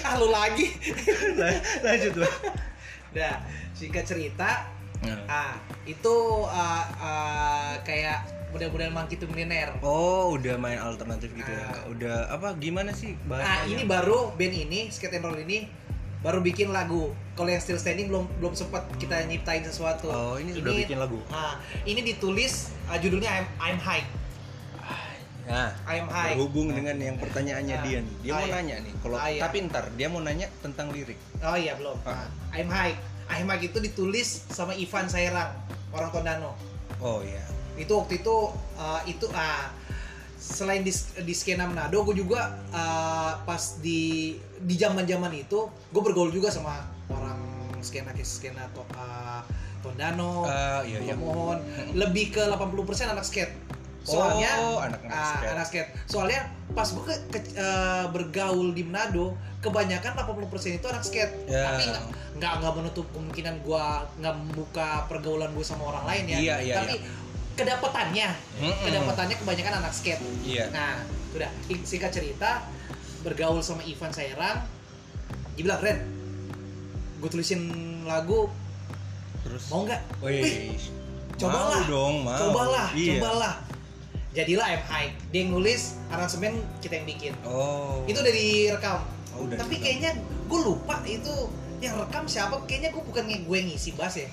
Speaker 2: ah lu lagi *laughs*
Speaker 1: Lan- Lanjut, Pak.
Speaker 2: Nah, singkat cerita,
Speaker 1: Nah.
Speaker 2: ah itu ah, ah, kayak mudah-mudahan mangki tuh milioner.
Speaker 1: Oh, udah main alternatif gitu ya.
Speaker 2: Ah.
Speaker 1: Udah apa gimana sih
Speaker 2: Nah,
Speaker 1: bahasanya?
Speaker 2: ini baru band ini, Skate and Roll ini baru bikin lagu. Kalau yang Still Standing belum belum sempat kita nyiptain sesuatu.
Speaker 1: Oh, ini
Speaker 3: Udah bikin lagu.
Speaker 2: ah, ini ditulis ah, judulnya I'm, I'm High.
Speaker 1: Nah,
Speaker 2: I'm High.
Speaker 1: berhubung dengan yang pertanyaannya
Speaker 2: Ah.
Speaker 1: dia nih. Dia mau
Speaker 2: Ah, iya.
Speaker 1: nanya nih, kalau
Speaker 2: Ah, iya.
Speaker 1: tapi ntar dia mau nanya tentang lirik.
Speaker 2: Oh iya, belum.
Speaker 1: Ah.
Speaker 2: I'm High. I'm High itu ditulis sama Ivan Sairang, orang Tondano.
Speaker 1: Oh iya.
Speaker 2: itu waktu itu uh, itu ah, selain di, di skena Manado gue juga ah, pas di di zaman zaman itu gue bergaul juga sama orang skena skena to, ah, Tondano,
Speaker 1: Ah, iya, iya.
Speaker 2: Pemohon, lebih ke 80% anak skate. Soalnya
Speaker 1: Oh, anak-anak
Speaker 2: ah,
Speaker 1: skate.
Speaker 2: anak skate. Soalnya pas gue ke, ke- eh, bergaul di Manado, kebanyakan 80% itu anak skate.
Speaker 1: Ya.
Speaker 2: Tapi nggak- nggak nggak menutup kemungkinan gue nggak membuka pergaulan gue sama orang lain ya.
Speaker 1: Iya, iya,
Speaker 2: Tapi kedapatannya,
Speaker 1: Mm-mm.
Speaker 2: kedapatannya kebanyakan anak skate.
Speaker 1: Iya.
Speaker 2: Nah, udah I- singkat cerita bergaul sama Ivan Sairang, dia bilang Ren, gue tulisin lagu
Speaker 1: Terus
Speaker 2: mau nggak?
Speaker 1: Wih,
Speaker 2: cobalah.
Speaker 1: mau dong, mau.
Speaker 2: cobalah,
Speaker 1: Iya.
Speaker 2: cobalah. Jadilah I'm High. Dia yang nulis, aransemen kita yang bikin.
Speaker 1: Oh.
Speaker 2: Itu udah direkam.
Speaker 1: Oh, udah
Speaker 2: Tapi
Speaker 1: direkam.
Speaker 2: kayaknya gue lupa itu yang rekam siapa. Kayaknya gue bukan nge- gue yang ngisi bass ya.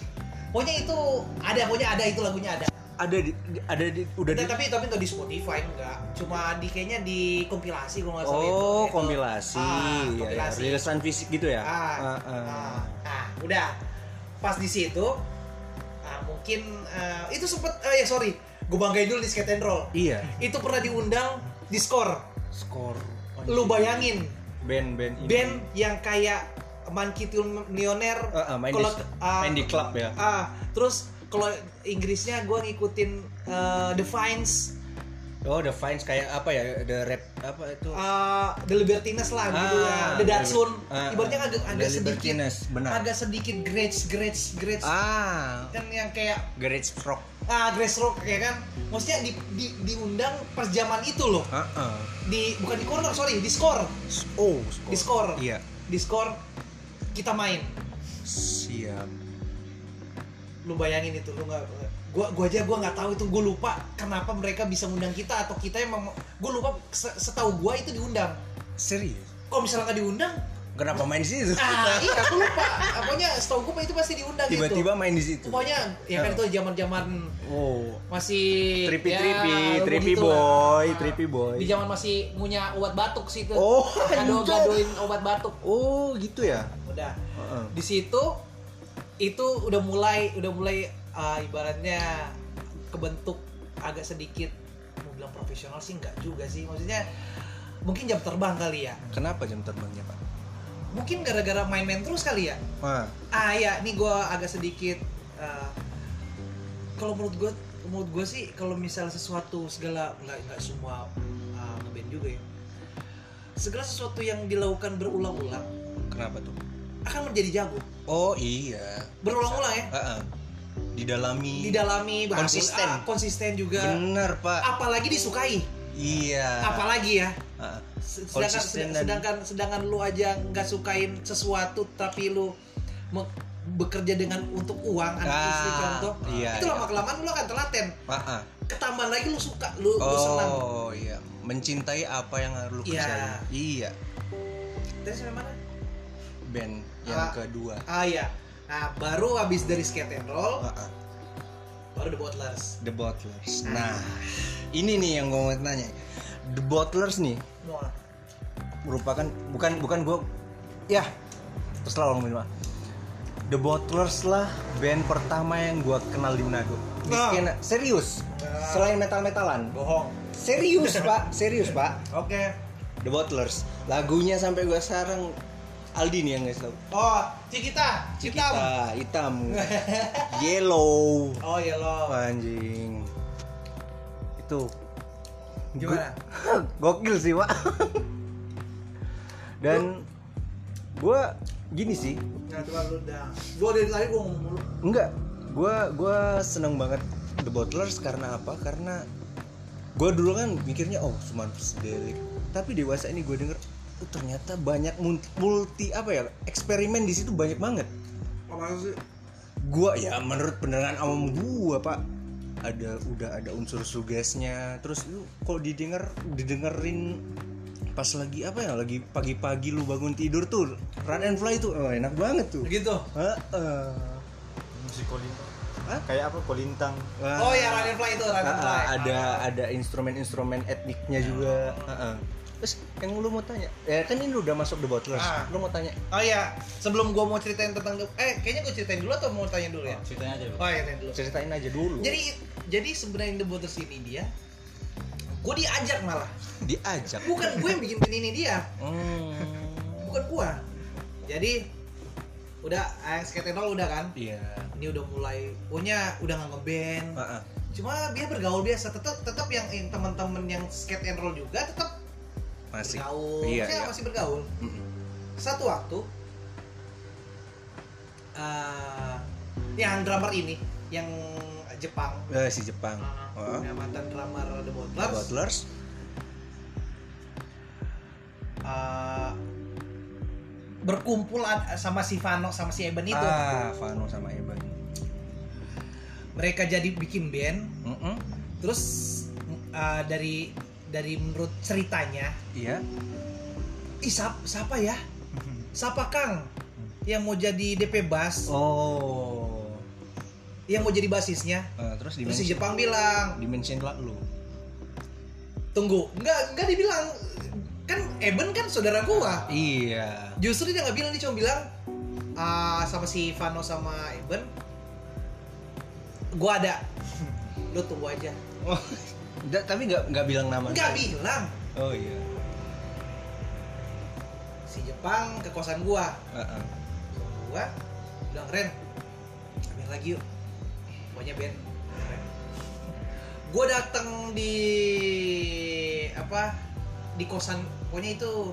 Speaker 2: Pokoknya itu ada, pokoknya ada itu lagunya ada.
Speaker 1: ada di, di- ada di udah
Speaker 2: Nah,
Speaker 1: di
Speaker 2: tapi tapi nggak di Spotify enggak. Cuma di kayaknya di kompilasi kalau nggak salah itu.
Speaker 1: Oh,
Speaker 2: Itu.
Speaker 1: kompilasi.
Speaker 2: Ah,
Speaker 1: Iya, iya.
Speaker 2: kompilasi.
Speaker 1: Rilisan fisik gitu ya?
Speaker 2: Ah,
Speaker 1: Ah, ah.
Speaker 2: ah. Nah, udah. Pas di situ, ah, mungkin eh, itu sempet, eh, ya sorry, gue banggain dulu di skate and roll.
Speaker 1: Iya.
Speaker 2: Itu pernah diundang di skor.
Speaker 1: Skor.
Speaker 2: Lu bayangin
Speaker 1: band-band ini.
Speaker 2: band yang kayak Monkey Tune Millionaire,
Speaker 1: Ah, ah, main,
Speaker 2: kalau
Speaker 1: di,
Speaker 2: ah,
Speaker 1: main di club ya.
Speaker 2: ah, terus kalau Inggrisnya gue ngikutin eh, The Vines,
Speaker 1: Oh, The Vines kayak apa ya? The rap apa itu?
Speaker 2: eh, The Libertines lah gitu
Speaker 1: Ah,
Speaker 2: ya, The Datsun,
Speaker 1: ah,
Speaker 2: ibaratnya agak
Speaker 1: The
Speaker 2: agak sedikit,
Speaker 1: Libertines, benar.
Speaker 2: agak sedikit grades grades grades
Speaker 1: Ah,
Speaker 2: kan yang kayak
Speaker 1: Garage Rock.
Speaker 2: ah grass rock ya kan maksudnya di, di- diundang pas zaman itu loh
Speaker 1: Ah, ah.
Speaker 2: di bukan di corner sorry di skor
Speaker 1: Oh,
Speaker 2: di skor
Speaker 1: Iya.
Speaker 2: di skor kita main
Speaker 1: Siap.
Speaker 2: lu bayangin itu lu nggak gua gua aja gua nggak tahu itu gua lupa kenapa mereka bisa ngundang kita atau kita emang gua lupa se- setahu gua itu diundang
Speaker 1: Serius.
Speaker 2: kalau misalnya nggak diundang
Speaker 1: Kenapa main di situ?
Speaker 2: ah iya aku lupa pokoknya setahu gua itu pasti diundang
Speaker 1: *laughs* Tiba-tiba
Speaker 2: gitu
Speaker 1: main di situ.
Speaker 2: pokoknya ya kan itu zaman zaman
Speaker 1: Oh.
Speaker 2: masih
Speaker 1: Trippy,
Speaker 2: ya,
Speaker 1: trippy,
Speaker 2: lu
Speaker 1: trippy
Speaker 2: begitu lah.
Speaker 1: boy,
Speaker 2: Ah.
Speaker 1: trippy boy.
Speaker 2: di zaman masih punya obat batuk sih itu
Speaker 1: Oh,
Speaker 2: gado
Speaker 1: anjay.
Speaker 2: gadoin obat batuk
Speaker 1: Oh, gitu ya.
Speaker 2: udah
Speaker 1: Heeh.
Speaker 2: di situ itu udah mulai udah mulai ah, ibaratnya kebentuk agak sedikit mau bilang profesional sih nggak juga sih maksudnya mungkin jam terbang kali ya
Speaker 1: Kenapa jam terbangnya, Pak?
Speaker 2: mungkin gara-gara main-main terus kali ya
Speaker 1: Wah.
Speaker 2: ah ya ini gue agak sedikit eh, kalau menurut gue menurut gue sih kalau misal sesuatu segala nggak nggak semua eh, ngeband juga ya segala sesuatu yang dilakukan berulang-ulang
Speaker 1: Kenapa tuh?
Speaker 2: akan menjadi jago
Speaker 1: Oh, iya.
Speaker 2: berulang-ulang ya
Speaker 1: Heeh. Didalami.
Speaker 2: didalami bahas-
Speaker 1: Konsisten.
Speaker 2: ah, konsisten juga
Speaker 1: Bener, Pak.
Speaker 2: apalagi disukai
Speaker 1: Iya.
Speaker 2: apalagi ya
Speaker 1: Heeh.
Speaker 2: Se- sedangkan
Speaker 1: Konsisten
Speaker 2: sed-
Speaker 1: dan-
Speaker 2: sedangkan sedangkan lu aja nggak sukain sesuatu tapi lu me- bekerja dengan untuk uang anak
Speaker 1: Ah,
Speaker 2: istri contoh
Speaker 1: iya,
Speaker 2: itu
Speaker 1: iya.
Speaker 2: lama kelamaan lu akan telaten
Speaker 1: Heeh.
Speaker 2: ketambahan lagi lu suka lu, lu senang
Speaker 1: Oh, iya. Mencintai apa yang lu
Speaker 2: Iya.
Speaker 1: percaya. Iya.
Speaker 2: terus sampai mana
Speaker 1: Band yang
Speaker 2: Ah.
Speaker 1: kedua.
Speaker 2: ah iya nah baru habis dari skate and roll
Speaker 1: Heeh.
Speaker 2: baru the bottlers
Speaker 1: The Bottlers. Nah, ini nih yang gue mau nanya. The Bottlers nih
Speaker 2: Wah,
Speaker 1: merupakan bukan bukan gue ya terserah orang bilang The Bottlers lah band pertama yang gue kenal di Manado. Di
Speaker 2: Nah.
Speaker 1: skena serius.
Speaker 2: Nah.
Speaker 1: Selain metal-metalan.
Speaker 2: bohong
Speaker 1: Serius, Pak. Serius, Pak.
Speaker 2: oke
Speaker 1: The Bottlers. Lagunya sampai gue sekarang Aldi nih yang ngasih tahu.
Speaker 2: Oh, Cikita, Cikita.
Speaker 1: Kita hitam. Yellow.
Speaker 2: Oh, ya lo.
Speaker 1: Anjing. Itu
Speaker 2: Gimana?
Speaker 1: *laughs* gokil sih pak dan gue gini sih
Speaker 2: Nah, coba lu dah. Gua dari tadi gua ngomong mulu.
Speaker 1: enggak gue gua seneng banget The Bottlers karena apa karena gue dulu kan mikirnya oh cuma psychedelic tapi dewasa ini gue denger oh, ternyata banyak multi, multi apa ya eksperimen di situ banyak banget
Speaker 2: Apa maksud sih?
Speaker 1: gua ya menurut pendengaran awam gua pak ada udah ada unsur sugesnya terus lu kalau didengar didengerin pas lagi apa ya lagi pagi-pagi lu bangun tidur tuh run and fly tuh oh, enak banget tuh
Speaker 2: Begitu.
Speaker 1: Heeh.
Speaker 3: Musik kolintang.
Speaker 1: Hah?
Speaker 3: Kayak apa kolintang?
Speaker 1: Wah.
Speaker 2: Oh, ya Run and Fly itu Run and
Speaker 1: Ah,
Speaker 2: Fly.
Speaker 1: ah, ada ada instrumen-instrumen etniknya juga Heeh. terus yang lu mau tanya ya kan ini udah masuk The Bottlers
Speaker 2: Ah.
Speaker 1: lu mau tanya
Speaker 2: Oh ya, sebelum gua mau ceritain tentang eh kayaknya gua ceritain dulu atau mau tanya dulu ya?
Speaker 3: Ceritanya aja dulu.
Speaker 2: Oh, ya tanya dulu.
Speaker 1: ceritain aja dulu
Speaker 2: Jadi jadi sebenarnya The Bottles ini dia gue diajak malah.
Speaker 1: diajak
Speaker 2: Bukan gue yang bikin band ini dia,
Speaker 1: hmm.
Speaker 2: bukan gua. Jadi udah eh, skate and roll udah kan?
Speaker 1: iya
Speaker 2: Ini udah mulai punya udah nggak ngeband.
Speaker 1: Heeh.
Speaker 2: Cuma dia bergaul biasa tetap tetap yang, yang teman-teman yang skate and roll juga tetap
Speaker 1: masih
Speaker 2: bergaul.
Speaker 1: Iya,
Speaker 2: Maksudnya
Speaker 1: iya.
Speaker 2: masih bergaul.
Speaker 1: Mm-mm.
Speaker 2: Satu waktu eh, yang drummer ini yang Jepang
Speaker 1: Eh, si Jepang Heeh.
Speaker 2: punya mantan drummer The
Speaker 1: The
Speaker 2: Bottlers.
Speaker 1: Butlers
Speaker 2: eh, berkumpul ad- sama si Vano sama si Eben itu.
Speaker 1: ah Vano sama Eban
Speaker 2: Mereka jadi bikin band.
Speaker 1: Mm-mm.
Speaker 2: Terus eh, dari dari menurut ceritanya,
Speaker 1: iya
Speaker 2: ih siap- siapa ya?
Speaker 4: Hmm.
Speaker 2: Siapa Kang
Speaker 1: Hmm.
Speaker 2: yang mau jadi DP bass,
Speaker 1: oh
Speaker 2: yang mau jadi basisnya?
Speaker 1: Eh, terus
Speaker 2: Terus si
Speaker 1: dimension
Speaker 2: Jepang bilang,
Speaker 1: dimension lah lu
Speaker 2: tunggu, nggak nggak dibilang kan Eben kan saudara gua.
Speaker 1: iya
Speaker 2: Justru dia nggak bilang dia cuma bilang "Ah, sama si Vano sama Eben, gua ada, *laughs* lo tunggu aja.
Speaker 1: oh, da- tapi nggak nggak bilang nama
Speaker 2: Nggak bilang
Speaker 1: oh iya
Speaker 2: si Jepang ke kosan gua.
Speaker 1: Heeh.
Speaker 2: Gua bilang Ren, main lagi yuk. Pokoknya Ben. Ren. Gua datang di apa? Di kosan pokoknya itu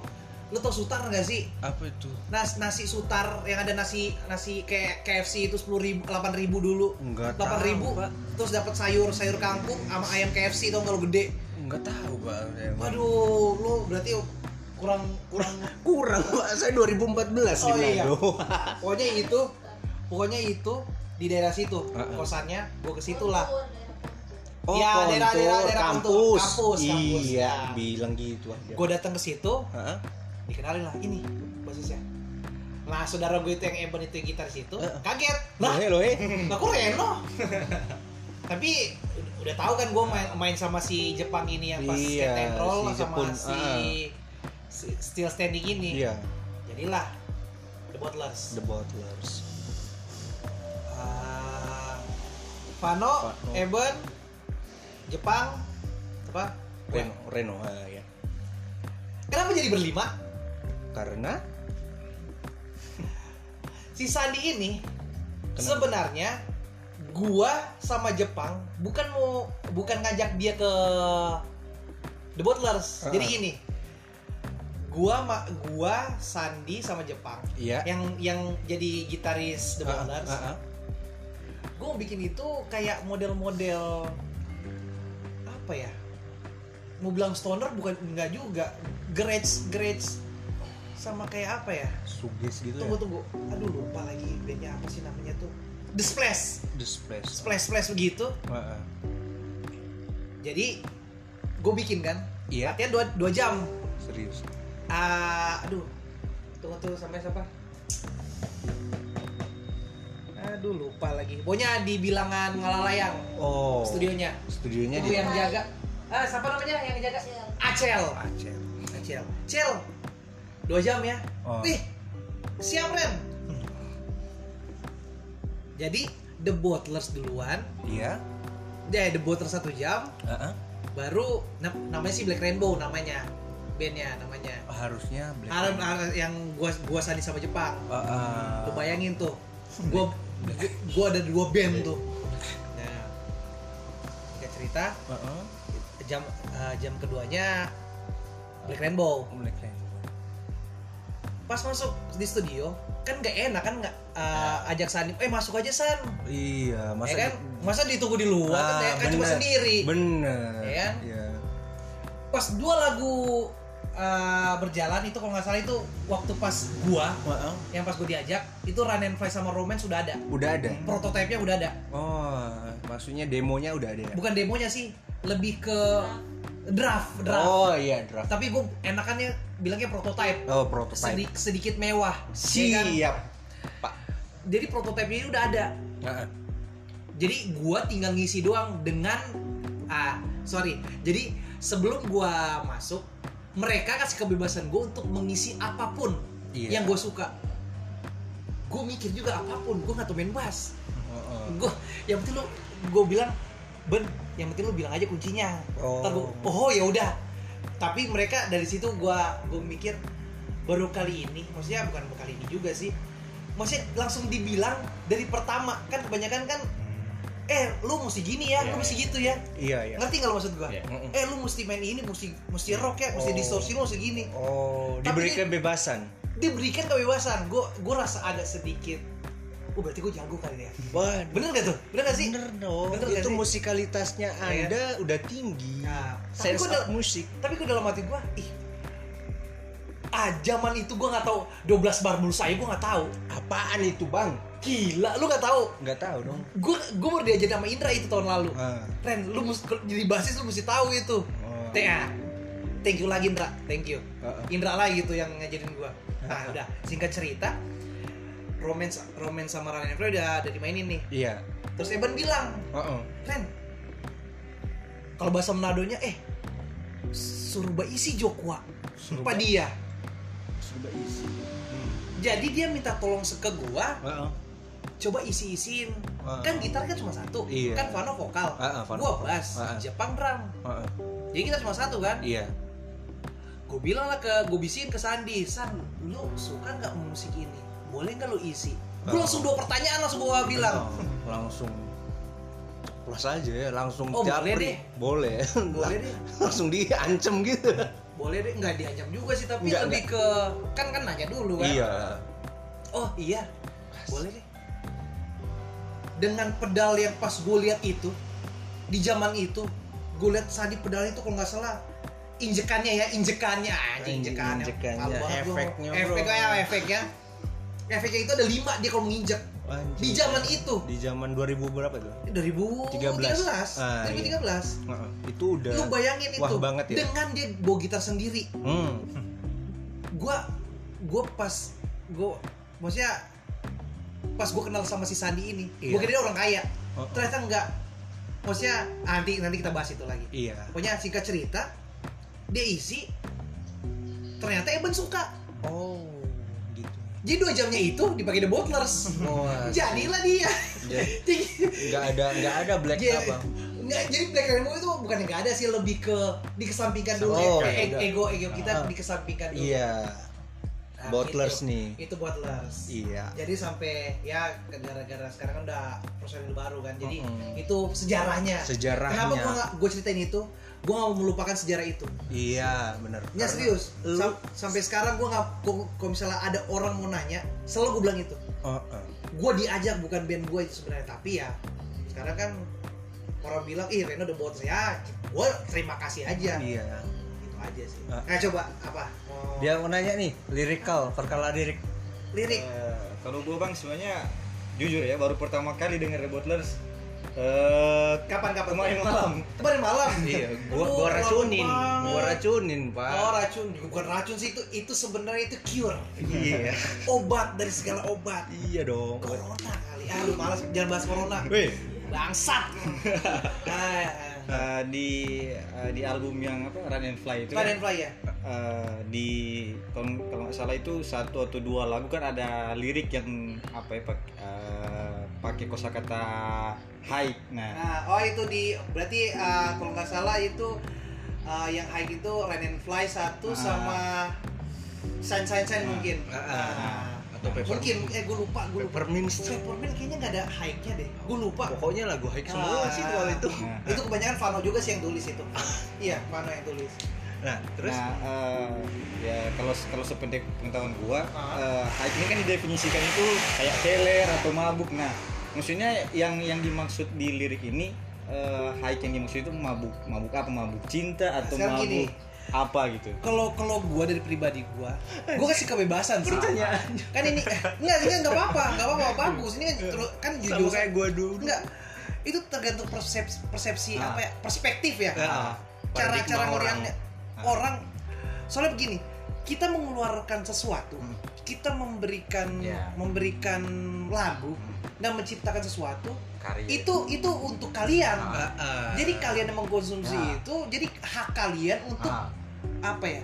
Speaker 2: lu tau sutar gak sih
Speaker 1: apa itu
Speaker 2: Nas, nasi sutar yang ada nasi nasi kayak KFC itu sepuluh ribu delapan ribu dulu
Speaker 1: nggak
Speaker 2: delapan
Speaker 1: tahu,
Speaker 2: ribu
Speaker 1: Pak.
Speaker 2: terus dapat sayur sayur kangkung sama ayam KFC tau gak lu gede
Speaker 1: nggak tahu pak Emang.
Speaker 2: waduh lu berarti kurang
Speaker 1: *laughs*
Speaker 2: kurang
Speaker 1: kurang pak saya 2014 di
Speaker 2: Oh, iya.
Speaker 1: Manado
Speaker 2: pokoknya itu pokoknya itu di daerah situ
Speaker 1: Heeh.
Speaker 2: kosannya gue ke situ lah *laughs*
Speaker 1: oh
Speaker 2: Iya,
Speaker 1: kontur,
Speaker 2: daerah- daerah- daerah kontur.
Speaker 1: kampus.
Speaker 2: Kampus, kampus,
Speaker 1: iya
Speaker 2: ya.
Speaker 1: bilang gitu aja
Speaker 2: gue datang ke situ
Speaker 1: Heeh.
Speaker 2: dikenalin lah ini basisnya nah saudara gue itu yang Eben itu yang gitar situ
Speaker 1: Heeh.
Speaker 2: kaget
Speaker 1: Loh,
Speaker 2: lah
Speaker 1: he,
Speaker 2: *laughs*
Speaker 1: loh, he.
Speaker 2: lah kok Reno tapi ud- udah tahu kan gue main main sama si Jepang ini yang pas
Speaker 1: Iya,
Speaker 2: skate and roll
Speaker 1: si
Speaker 2: sama
Speaker 1: Jepun, ah.
Speaker 2: si, si still standing ini
Speaker 1: iya
Speaker 2: jadilah the bottlers
Speaker 1: The Butlers
Speaker 2: Ah, Fano,
Speaker 1: Fano.
Speaker 2: Eben, Jepang, apa?
Speaker 1: Reno Reno ah, ya
Speaker 2: Kenapa jadi berlima?
Speaker 1: karena
Speaker 2: Si Sandi ini
Speaker 1: Kenapa?
Speaker 2: sebenarnya gua sama Jepang bukan mau bukan ngajak dia ke The Butlers.
Speaker 1: Ah.
Speaker 2: Jadi gini. Gua ma- gua Sandi sama Jepang
Speaker 1: iya
Speaker 2: yang yang jadi gitaris Eh, The
Speaker 1: Ah, ah,
Speaker 2: Butlers.
Speaker 1: ah, ah.
Speaker 2: gue bikin itu kayak model-model apa ya mau bilang stoner bukan enggak juga garage garage sama kayak apa ya
Speaker 1: suges gitu
Speaker 2: tunggu
Speaker 1: ya
Speaker 2: tunggu aduh lupa lagi bandnya apa sih namanya tuh The Splash
Speaker 1: the splash
Speaker 2: Splash Splash begitu
Speaker 1: Heeh.
Speaker 2: jadi gue bikin kan
Speaker 1: iya
Speaker 2: latihan dua, dua jam
Speaker 1: serius
Speaker 2: Ah, aduh tunggu tuh sampai siapa aduh lupa lagi pokoknya di bilangan ngalalayang
Speaker 1: oh
Speaker 2: studionya
Speaker 1: studionya
Speaker 2: Itu
Speaker 1: di
Speaker 2: yang jaga. Ah, siapa namanya yang jaga? Acel.
Speaker 1: Aceh
Speaker 2: Acel. Eh, Cel. Dua jam ya.
Speaker 1: oh.
Speaker 2: Wih. Siap, Ren. Jadi The Bottlers duluan,
Speaker 1: iya Ah,
Speaker 2: ya The Bottlers satu jam,
Speaker 1: Heeh.
Speaker 2: baru na- namanya sih Black Rainbow namanya. bandnya namanya
Speaker 1: harusnya Black
Speaker 2: Arab
Speaker 1: Panther.
Speaker 2: Arab yang gua gua sandi sama Jepang
Speaker 1: Ah, ah.
Speaker 2: lu
Speaker 1: *laughs*
Speaker 2: bayangin tuh gua gua ada dua band tuh nah kita cerita
Speaker 1: Ah, ah.
Speaker 2: jam eh, jam keduanya Black Rainbow
Speaker 1: Oh, Black Panther.
Speaker 2: pas masuk di studio kan nggak enak kan nggak eh, ajak Sandi eh masuk aja San
Speaker 1: Iya, masa
Speaker 2: ya kan masa ditunggu di luar kan, ya
Speaker 1: Ah,
Speaker 2: kan cuma
Speaker 1: bener.
Speaker 2: sendiri
Speaker 1: Bener.
Speaker 2: Ya kan?
Speaker 1: Iya.
Speaker 2: pas dua lagu eh, berjalan itu kalau nggak salah itu waktu pas gua
Speaker 1: Heeh.
Speaker 2: yang pas gua diajak itu Run and Fly sama Romance sudah ada
Speaker 1: Udah ada.
Speaker 2: prototipenya udah ada
Speaker 1: Oh, maksudnya demonya udah ada ya?
Speaker 2: bukan demonya sih lebih ke draft draft
Speaker 1: Oh iya, draft.
Speaker 2: tapi gua enakannya bilangnya prototype
Speaker 1: Oh, prototype.
Speaker 2: Sedi- sedikit mewah ya kan?
Speaker 1: Siap.
Speaker 2: jadi prototipenya ini udah ada
Speaker 1: Ah, ah.
Speaker 2: jadi gua tinggal ngisi doang dengan ah sorry jadi sebelum gua masuk mereka kasih kebebasan gua untuk mengisi apapun
Speaker 1: Iya.
Speaker 2: yang gua suka gue mikir juga apapun gua nggak tau main bass
Speaker 1: Oh, oh.
Speaker 2: gue yang penting lu gue bilang ben yang penting lu bilang aja kuncinya
Speaker 1: Oh.
Speaker 2: Ntar gua, oh ya udah tapi mereka dari situ gue gue mikir baru kali ini maksudnya bukan baru kali ini juga sih maksudnya langsung dibilang dari pertama kan kebanyakan kan
Speaker 4: Hmm.
Speaker 2: eh lu mesti gini ya lu
Speaker 1: Iya,
Speaker 2: mesti gitu ya
Speaker 1: Iya, iya.
Speaker 2: ngerti nggak lu maksud gue
Speaker 1: Iya. Mm-mm.
Speaker 2: eh lu mesti main ini mesti mesti rock ya mesti
Speaker 1: Oh.
Speaker 2: distorsi lu mesti gini
Speaker 1: Oh,
Speaker 2: Tapi
Speaker 1: diberi
Speaker 2: ini-
Speaker 1: kebebasan.
Speaker 2: diberikan kebebasan gue gue rasa agak sedikit oh berarti gue jago kali ya
Speaker 1: Waduh.
Speaker 2: bener gak tuh bener gak sih
Speaker 1: Bener dong.
Speaker 2: Bener nggak
Speaker 1: itu
Speaker 2: sih?
Speaker 1: musikalitasnya
Speaker 2: Iya.
Speaker 1: Anda udah tinggi.
Speaker 2: Nah, tapi
Speaker 1: Sense
Speaker 2: gue
Speaker 1: of musik.
Speaker 2: tapi gue dalam hati gue ih ah zaman itu gue nggak tahu 12 bar bulu saya gue nggak tahu
Speaker 1: Apaan itu, Bang?
Speaker 2: gila lu nggak tahu
Speaker 1: Nggak tahu dong.
Speaker 2: gue gue baru diajar sama Indra itu tahun lalu
Speaker 1: Ah.
Speaker 2: Ren lu mesti jadi basis lu mesti tahu itu
Speaker 1: Oh.
Speaker 2: TA ah. thank you lagi Indra thank you
Speaker 1: Heeh.
Speaker 2: Indra lagi gitu yang ngajarin gue nah
Speaker 1: *laughs*
Speaker 2: udah singkat cerita romance romance sama Ryan Evra udah udah dimainin nih
Speaker 1: Iya.
Speaker 2: terus Evan bilang
Speaker 1: Heeh.
Speaker 2: Ren kalau bahasa Menadonya eh suruh isi Jokwa
Speaker 1: Suruh
Speaker 2: Apa dia
Speaker 1: sudah isi.
Speaker 2: jadi dia minta tolong se- ke gua
Speaker 1: Heeh.
Speaker 2: coba isi isin
Speaker 1: Heeh.
Speaker 2: kan gitar kan cuma satu
Speaker 1: Ah. Iya.
Speaker 2: kan Vano vokal
Speaker 1: Heeh, Vano
Speaker 2: gua
Speaker 1: vokal.
Speaker 2: bass
Speaker 1: Heeh.
Speaker 2: Jepang drum
Speaker 1: Heeh.
Speaker 2: jadi kita cuma satu kan
Speaker 1: Iya.
Speaker 2: gua bilang lah ke gua bisikin ke Sandi San lu suka nggak musik ini boleh nggak lu isi
Speaker 1: Heeh.
Speaker 2: gua langsung dua pertanyaan langsung gua bilang
Speaker 1: Oh, langsung plus aja ya, langsung
Speaker 2: Oh, boleh
Speaker 1: japri.
Speaker 2: deh.
Speaker 1: Boleh.
Speaker 2: boleh deh
Speaker 1: *laughs* langsung diancem gitu.
Speaker 2: boleh deh nggak diajak juga sih tapi
Speaker 1: Nggak,
Speaker 2: lebih ke kan kan nanya dulu kan
Speaker 1: Iya.
Speaker 2: oh iya boleh deh dengan pedal yang pas gue lihat itu di zaman itu gue lihat Sandi pedal itu kalau nggak salah injekannya ya injekannya aja
Speaker 1: Anjing,
Speaker 2: injekannya,
Speaker 1: injekannya,
Speaker 2: Malu banget gua.
Speaker 1: efeknya, bro.
Speaker 2: efeknya ya, efeknya efeknya itu ada lima dia kalau menginjek
Speaker 1: Anjing.
Speaker 2: di zaman itu
Speaker 1: di zaman 2000 berapa itu?
Speaker 2: 2013
Speaker 1: Ah, iya.
Speaker 2: 2013
Speaker 1: Heeh. Itu udah
Speaker 2: lu bayangin
Speaker 1: Iya. Wah,
Speaker 2: itu
Speaker 1: banget ya.
Speaker 2: dengan dia bawa gitar sendiri
Speaker 1: Hmm.
Speaker 2: gua gua pas gua maksudnya pas gua kenal sama si Sandi ini
Speaker 1: Iya.
Speaker 2: gua kira dia orang kaya
Speaker 1: Oh, oh.
Speaker 2: ternyata enggak maksudnya ah, nanti nanti kita bahas itu lagi
Speaker 1: Iya.
Speaker 2: pokoknya singkat cerita dia isi ternyata Eben suka
Speaker 1: Oh, gitu.
Speaker 2: jadi dua jamnya itu dipakai The
Speaker 1: *laughs*
Speaker 2: Butlers
Speaker 1: Oh,
Speaker 2: jadilah
Speaker 1: *laughs*
Speaker 2: dia
Speaker 1: jadi
Speaker 2: jadi
Speaker 1: nggak ada nggak ada black
Speaker 2: Iya.
Speaker 1: apa?
Speaker 2: Nggak, jadi Black Rainbow itu bukan nggak ada sih lebih ke dikesampingkan dulu
Speaker 1: Oh,
Speaker 2: E-
Speaker 1: iya.
Speaker 2: ego ego kita
Speaker 1: Ah.
Speaker 2: dikesampingkan dulu
Speaker 1: Iya.
Speaker 2: Nah,
Speaker 1: Bottlers
Speaker 2: gitu.
Speaker 1: nih.
Speaker 2: itu Butlers
Speaker 1: Iya.
Speaker 2: jadi sampai ya ke gara-gara sekarang kan udah personil baru kan jadi
Speaker 1: Mm-mm.
Speaker 2: itu sejarahnya
Speaker 1: Sejarahnya.
Speaker 2: kenapa gua nggak gua ceritain itu gua nggak mau melupakan sejarah itu
Speaker 1: Iya, benar.
Speaker 2: Nggak serius
Speaker 1: lu-
Speaker 2: Sam- sampai sekarang gua nggak gua- kalau misalnya ada orang mau nanya selalu gua bilang itu
Speaker 1: Oh, oh.
Speaker 2: gua diajak bukan band gua itu sebenarnya tapi ya sekarang kan orang bilang ih Reno udah buat saya gua terima kasih aja
Speaker 1: Iya.
Speaker 2: gitu aja sih
Speaker 1: Ah.
Speaker 2: nah coba apa Oh, Mau
Speaker 1: Dia mau nanya nih, lirikal, perkala lirik.
Speaker 2: lirik
Speaker 4: Eh, kalau gue bang semuanya jujur ya baru pertama kali denger The Butlers eh
Speaker 2: kapan kapan
Speaker 4: kemarin malam
Speaker 2: kemarin malam
Speaker 1: Iya, gua
Speaker 2: Lu
Speaker 1: gua
Speaker 2: terlalu
Speaker 1: racunin,
Speaker 2: Oh, banget.
Speaker 1: gua racunin, Pak.
Speaker 2: Oh racun, bukan racun sih itu itu sebenarnya itu cure,
Speaker 1: Iya.
Speaker 2: obat dari segala obat.
Speaker 1: Iya dong.
Speaker 2: Corona kali, ah lu malas jangan bahas corona,
Speaker 4: Weh,
Speaker 1: *laughs*
Speaker 2: bangsat. ah, ah.
Speaker 4: eh, di eh, di album yang apa Run and Fly itu
Speaker 2: Fly
Speaker 4: kan,
Speaker 2: and fly ya,
Speaker 4: eh, di kalau kalau nggak salah itu satu atau dua lagu kan ada lirik yang apa ya pak- eh, pakai kosakata high nah
Speaker 2: eh, Nah, oh itu di berarti ah, kalau nggak salah itu eh, yang high itu Ren and Fly satu
Speaker 4: Ah.
Speaker 2: sama Sign Sign Sign
Speaker 4: Ah.
Speaker 2: mungkin.
Speaker 1: Ah, ah,
Speaker 2: Nah,
Speaker 1: atau paper
Speaker 2: mungkin eh gue lupa gue lupa.
Speaker 1: Peppermint Strip.
Speaker 2: Peppermint kayaknya nggak ada high-nya deh. Gue lupa.
Speaker 1: Pokoknya lagu high semua
Speaker 2: Ah.
Speaker 1: sih kalau itu.
Speaker 4: Nah,
Speaker 2: Itu kebanyakan Vano juga sih yang tulis itu. iya, Vano yang tulis.
Speaker 1: Nah, terus
Speaker 4: nah, eh, ya kalau kalau sependek pengetahuan gua,
Speaker 2: Ah.
Speaker 4: eh, hype ini kan didefinisikan itu kayak teler atau mabuk. Nah, maksudnya yang yang dimaksud di lirik ini eh hype yang dimaksud itu mabuk, mabuk apa? Mabuk cinta atau
Speaker 2: Sekarang gini.
Speaker 4: mabuk apa gitu?
Speaker 2: Kalau kalau gue dari pribadi gue, gue kasih kebebasan sih.
Speaker 1: pertanyaan
Speaker 2: Kan ini enggak enggak enggak apa-apa, enggak apa-apa bagus. Ini kan terus kan
Speaker 1: sama
Speaker 2: jujur
Speaker 1: kayak gua dulu.
Speaker 2: enggak itu tergantung persepsi, persepsi
Speaker 1: Ah.
Speaker 2: apa ya perspektif ya
Speaker 1: Ah,
Speaker 2: cara
Speaker 1: paradigma
Speaker 2: cara orang
Speaker 1: orang. Ah.
Speaker 2: orang soalnya begini kita mengeluarkan sesuatu
Speaker 4: Hmm.
Speaker 2: kita memberikan
Speaker 4: Ya.
Speaker 2: memberikan lagu
Speaker 1: Hmm.
Speaker 2: dan menciptakan sesuatu
Speaker 4: Karya.
Speaker 2: itu itu untuk kalian
Speaker 1: Iya. Ah, ah.
Speaker 2: jadi kalian yang mengkonsumsi
Speaker 4: Ya.
Speaker 2: itu jadi hak kalian untuk apa ya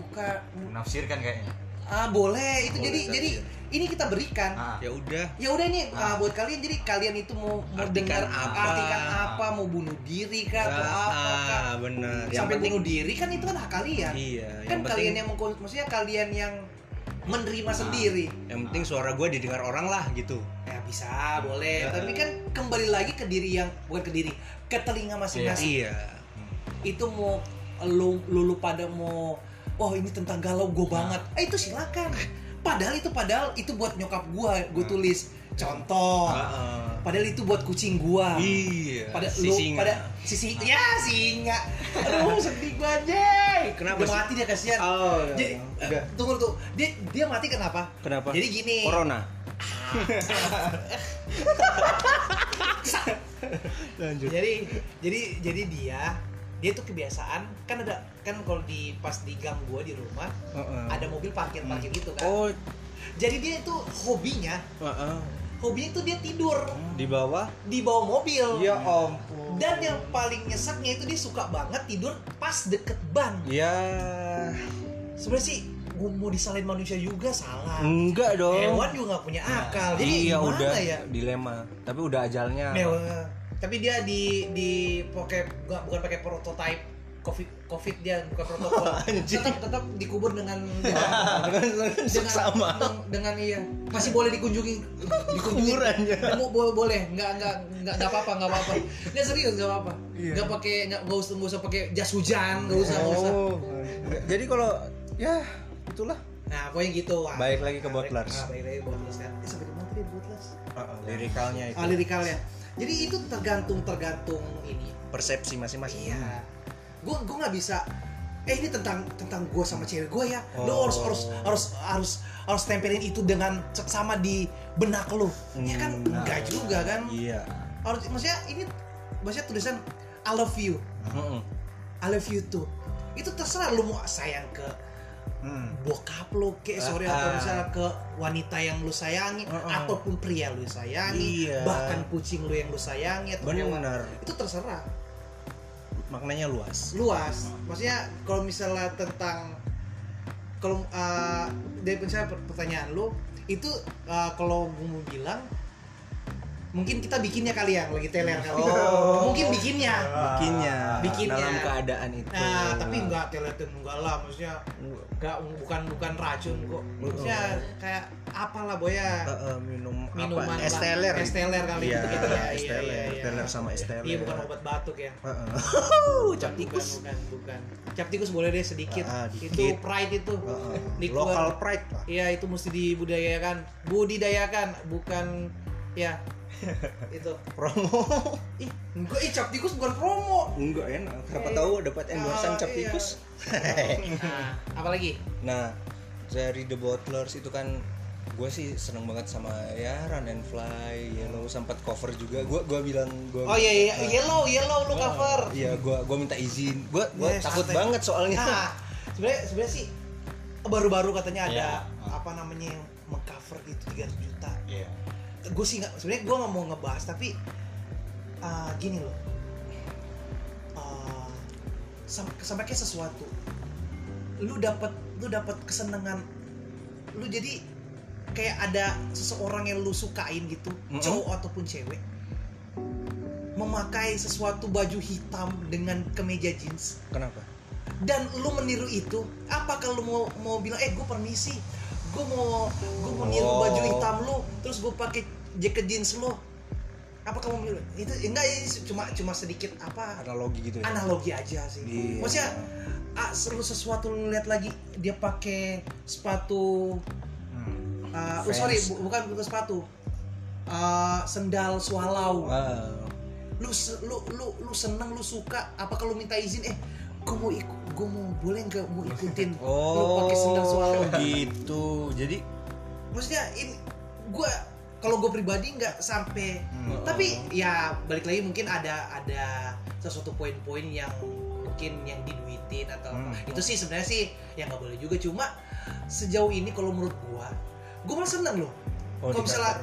Speaker 2: buka
Speaker 4: menafsirkan kayaknya.
Speaker 2: ah boleh itu
Speaker 1: Boleh,
Speaker 2: jadi
Speaker 1: tapi
Speaker 2: jadi
Speaker 1: ya.
Speaker 2: ini kita berikan
Speaker 1: ya udah
Speaker 2: ya udah nih
Speaker 4: Ah.
Speaker 2: ah, buat kalian jadi kalian itu mau mau
Speaker 1: Artikan
Speaker 2: dengar
Speaker 1: apa?
Speaker 2: artikan apa mau bunuh diri kah atau Ya, apa kah
Speaker 1: ah, benar
Speaker 4: Yang
Speaker 2: sampai
Speaker 4: penting-
Speaker 2: bunuh diri kan itu kan hak kalian
Speaker 1: iya yang
Speaker 2: kan kalian
Speaker 1: penting Ah.
Speaker 2: yang mengkonsumsi maksudnya kalian yang menerima sendiri
Speaker 1: yang penting suara gua didengar orang lah gitu
Speaker 2: ya bisa boleh
Speaker 1: Ya.
Speaker 2: tapi kan kembali lagi ke diri yang bukan ke diri ke telinga masing-masing
Speaker 1: iya
Speaker 2: itu mau lu, lu, lu pada mau oh ini tentang galau gue banget eh itu silakan padahal itu padahal itu buat nyokap gue gue
Speaker 4: Hmm.
Speaker 2: tulis contoh
Speaker 1: Ah,
Speaker 2: padahal itu buat kucing
Speaker 1: ah.
Speaker 2: gua
Speaker 1: iya
Speaker 2: pada
Speaker 1: si
Speaker 2: lu
Speaker 1: singa.
Speaker 2: pada sisi ya singa aduh sedih gua anjay
Speaker 1: Kenapa
Speaker 2: udah
Speaker 1: sih?
Speaker 2: mati dia kasihan
Speaker 1: oh iya.
Speaker 2: Jadi, eh,
Speaker 1: Udah.
Speaker 2: tunggu tuh dia dia mati kenapa
Speaker 1: kenapa
Speaker 2: jadi gini *laughs*
Speaker 1: corona
Speaker 2: jadi jadi jadi dia dia tuh kebiasaan kan ada kan kalau di pas di gang gua di rumah ada mobil parkir parkir gitu kan
Speaker 1: oh
Speaker 2: jadi dia itu hobinya
Speaker 1: ah, ah.
Speaker 2: hobinya tuh dia tidur
Speaker 1: di bawah
Speaker 2: di bawah mobil
Speaker 1: Hmm. ya ampun
Speaker 2: dan yang paling nyeseknya itu dia suka banget tidur pas deket ban
Speaker 1: ya
Speaker 2: sebenarnya sih gua mau disalahin manusia juga salah
Speaker 1: enggak dong
Speaker 2: hewan juga nggak punya akal jadi
Speaker 1: Mm. iya
Speaker 2: gimana
Speaker 1: udah
Speaker 2: ya
Speaker 1: dilema tapi udah ajalnya
Speaker 2: Mewah. tapi dia di di pakai nggak bukan pakai prototype covid covid dia bukan protokol
Speaker 1: *laughs*
Speaker 2: tetap tetap dikubur dengan dengan
Speaker 1: sama.
Speaker 2: dengan- dengan iya masih boleh dikunjungi dikunjungi
Speaker 1: Kuburannya.
Speaker 2: Bo- bo- boleh nggak nggak nggak nggak apa apa nggak apa apa nggak serius nggak apa apa
Speaker 1: Iya.
Speaker 2: nggak pakai nggak nggak usah nggak usah pakai jas hujan nggak usah nggak usah
Speaker 1: oh jadi kalau ya itulah
Speaker 2: nah pokoknya gitu Wak.
Speaker 1: Balik lagi ke
Speaker 2: Nah,
Speaker 1: Butlers.
Speaker 2: nah, balik lagi ke Butlers kan eh, sampai ke mana tadi Butlers
Speaker 1: lirikalnya
Speaker 2: ah, lirikalnya jadi itu tergantung tergantung ini
Speaker 1: persepsi masing-masing
Speaker 2: iya gue gue nggak bisa eh ini tentang tentang gue sama cewek gue ya
Speaker 1: Oh.
Speaker 2: lo harus harus harus harus harus tempelin itu dengan seksama di benak lo ya kan
Speaker 1: Hmm.
Speaker 2: enggak juga kan
Speaker 1: iya
Speaker 2: harus maksudnya ini maksudnya tulisan I love you
Speaker 1: Mm-mm.
Speaker 2: I love you too itu terserah lo mau sayang ke bokap lo ke sorry
Speaker 1: Hmm. Ah,
Speaker 2: atau
Speaker 1: ah.
Speaker 2: misalnya ke wanita yang lo sayangi
Speaker 1: Ah, ah.
Speaker 2: ataupun pria lo sayangi
Speaker 1: Iya.
Speaker 2: bahkan kucing lo yang lo sayangi atau hewan.
Speaker 1: benar
Speaker 2: itu terserah
Speaker 1: maknanya luas
Speaker 2: luas maksudnya kalau misalnya tentang kalau eh, dari misalnya per- pertanyaan lu itu eh, kalau gue mau bilang mungkin kita bikinnya kali ya lagi teler kali
Speaker 1: Oh.
Speaker 2: mungkin bikinnya
Speaker 1: bikinnya
Speaker 2: Bikinnya.
Speaker 1: dalam keadaan itu
Speaker 2: nah tapi nggak teler tuh nggak lah maksudnya nggak bukan bukan racun kok maksudnya kayak apalah boya
Speaker 1: Eh, eh, minum
Speaker 2: minuman
Speaker 1: apa
Speaker 2: lah.
Speaker 1: es teler
Speaker 2: es teler kali
Speaker 1: Iya,
Speaker 2: gitu ya
Speaker 1: es
Speaker 2: iya,
Speaker 1: teler.
Speaker 2: iya, iya.
Speaker 1: Teler sama es teler.
Speaker 2: iya bukan obat batuk ya *laughs*
Speaker 1: cap tikus
Speaker 2: bukan bukan, bukan. cap tikus boleh deh sedikit
Speaker 1: Ah,
Speaker 2: itu
Speaker 1: dikit.
Speaker 2: pride itu Di
Speaker 1: lokal pride lah
Speaker 2: Iya itu mesti dibudayakan, budidayakan, bukan
Speaker 1: *laughs*
Speaker 2: ya itu.
Speaker 1: promo
Speaker 2: Ih, enggak, ih cap tikus bukan promo.
Speaker 1: *laughs* enggak enak siapa
Speaker 2: Iya.
Speaker 1: tahu dapat endorsean
Speaker 2: Ah,
Speaker 1: cap
Speaker 2: iya.
Speaker 1: tikus
Speaker 2: Nah,
Speaker 1: *laughs*
Speaker 2: apalagi?
Speaker 1: Nah, dari The Bottlers itu kan gue sih seneng banget sama ya Run and Fly, Yellow sempat cover juga. Gue gua bilang gue
Speaker 2: Oh iya, iya, yellow, yellow lu cover.
Speaker 1: Iya, gua gua minta izin. Gue gua
Speaker 2: Yes,
Speaker 1: takut
Speaker 2: santai.
Speaker 1: banget soalnya.
Speaker 2: Nah, sebenarnya sebenarnya sih oh, baru-baru katanya ada
Speaker 1: Ah.
Speaker 4: Iya.
Speaker 2: apa namanya yang mengcover gitu 300 juta.
Speaker 4: Iya.
Speaker 2: Gue sih nggak, sebenarnya gue nggak mau ngebahas tapi ah, gini loh. Ah, sam- sampai kayak sesuatu lu dapat lu dapat kesenangan lu jadi kayak ada seseorang yang lu sukain gitu
Speaker 1: Mm-mm.
Speaker 2: cowok ataupun cewek memakai sesuatu baju hitam dengan kemeja jeans
Speaker 1: Kenapa?
Speaker 2: dan lu meniru itu apakah lu mau mau bilang eh gue permisi gue mau gue mau niru
Speaker 1: Oh.
Speaker 2: baju hitam lu terus gue pakai jaket jeans lu apa kamu bilang itu enggak ini cuma cuma sedikit apa
Speaker 1: Analogi gitu ya.
Speaker 2: analogi aja sih
Speaker 1: Iya.
Speaker 2: maksudnya ah, seru sesuatu lu lihat lagi dia pakai sepatu
Speaker 3: Hmm.
Speaker 2: ah,
Speaker 1: Vans.
Speaker 2: oh, sorry bu- bukan bukan sepatu Ah, sendal swallow
Speaker 1: Wow.
Speaker 2: lu se- lu lu lu seneng lu suka apa kalau minta izin eh gue mau ikut gue mau boleh nggak mau ikutin lu pakai sendal swallow
Speaker 1: gitu. Jadi
Speaker 2: maksudnya ini gue kalau gue pribadi nggak sampai
Speaker 4: Hmm.
Speaker 2: tapi ya balik lagi mungkin ada ada sesuatu poin-poin yang mungkin yang diduitin atau apa.
Speaker 3: Hmm.
Speaker 2: itu sih sebenarnya sih ya nggak boleh juga cuma sejauh ini kalau menurut gua gua malah seneng loh
Speaker 1: Oh,
Speaker 2: kalau
Speaker 1: di
Speaker 2: misalnya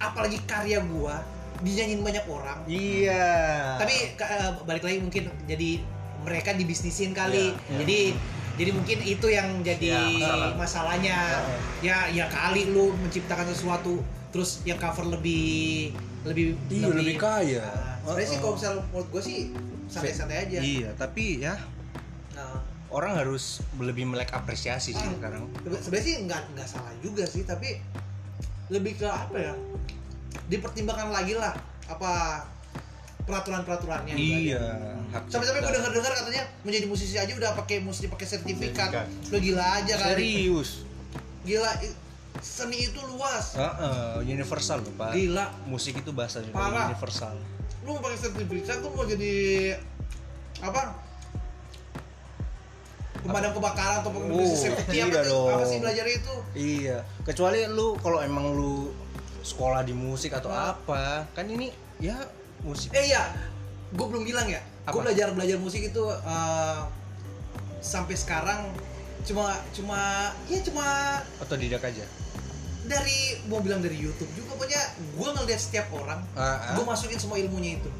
Speaker 2: apalagi karya gua dinyanyiin banyak orang
Speaker 3: Iya.
Speaker 2: tapi ka- eh, balik lagi mungkin jadi mereka dibisnisin
Speaker 3: Iya,
Speaker 2: kali
Speaker 1: iya.
Speaker 2: jadi jadi mungkin itu yang jadi
Speaker 3: Iya, masalah. Iya.
Speaker 2: masalahnya ya ya kali lu menciptakan sesuatu terus yang cover lebih lebih
Speaker 1: Iya, lebih kaya.
Speaker 2: Nah, sebenarnya sih
Speaker 1: Uh-uh.
Speaker 2: kalau misalnya menurut gue sih santai-santai aja
Speaker 1: Iya, tapi ya
Speaker 2: Nah,
Speaker 1: orang harus lebih melek apresiasi sih
Speaker 2: Ah.
Speaker 1: sekarang.
Speaker 2: sebe- sebenarnya sih nggak nggak salah juga sih tapi lebih ke apa ya dipertimbangkan lagi lah apa peraturan-peraturannya gitu
Speaker 1: Iya, hak
Speaker 2: sampai-sampai gue
Speaker 1: cipta.
Speaker 2: dengar-dengar katanya menjadi musisi aja udah pakai mesti pakai sertifikat
Speaker 3: Sertifikat.
Speaker 2: lo gila aja kali
Speaker 1: serius.
Speaker 2: gila i- seni itu luas
Speaker 1: Uh-uh, universal loh, Pak.
Speaker 2: gila
Speaker 1: Musik itu bahasa juga
Speaker 2: Parah.
Speaker 1: universal.
Speaker 2: lu mau pakai sertifikat tuh mau jadi apa pemadam kebakaran atau
Speaker 1: Oh,
Speaker 2: pemadam safety apa
Speaker 1: iya
Speaker 2: tuh? apa
Speaker 1: dong.
Speaker 2: sih belajar itu
Speaker 1: Iya, kecuali lu kalau emang lu sekolah di musik atau apa, kan ini ya musik.
Speaker 2: eh iya gue belum bilang ya gue
Speaker 1: Apa?
Speaker 2: belajar belajar musik itu eh, sampai sekarang cuma cuma ya cuma
Speaker 1: atau didak aja.
Speaker 2: dari mau bilang dari YouTube juga pokoknya gue ngeliat setiap orang
Speaker 1: Ah, ah.
Speaker 2: gue masukin semua ilmunya itu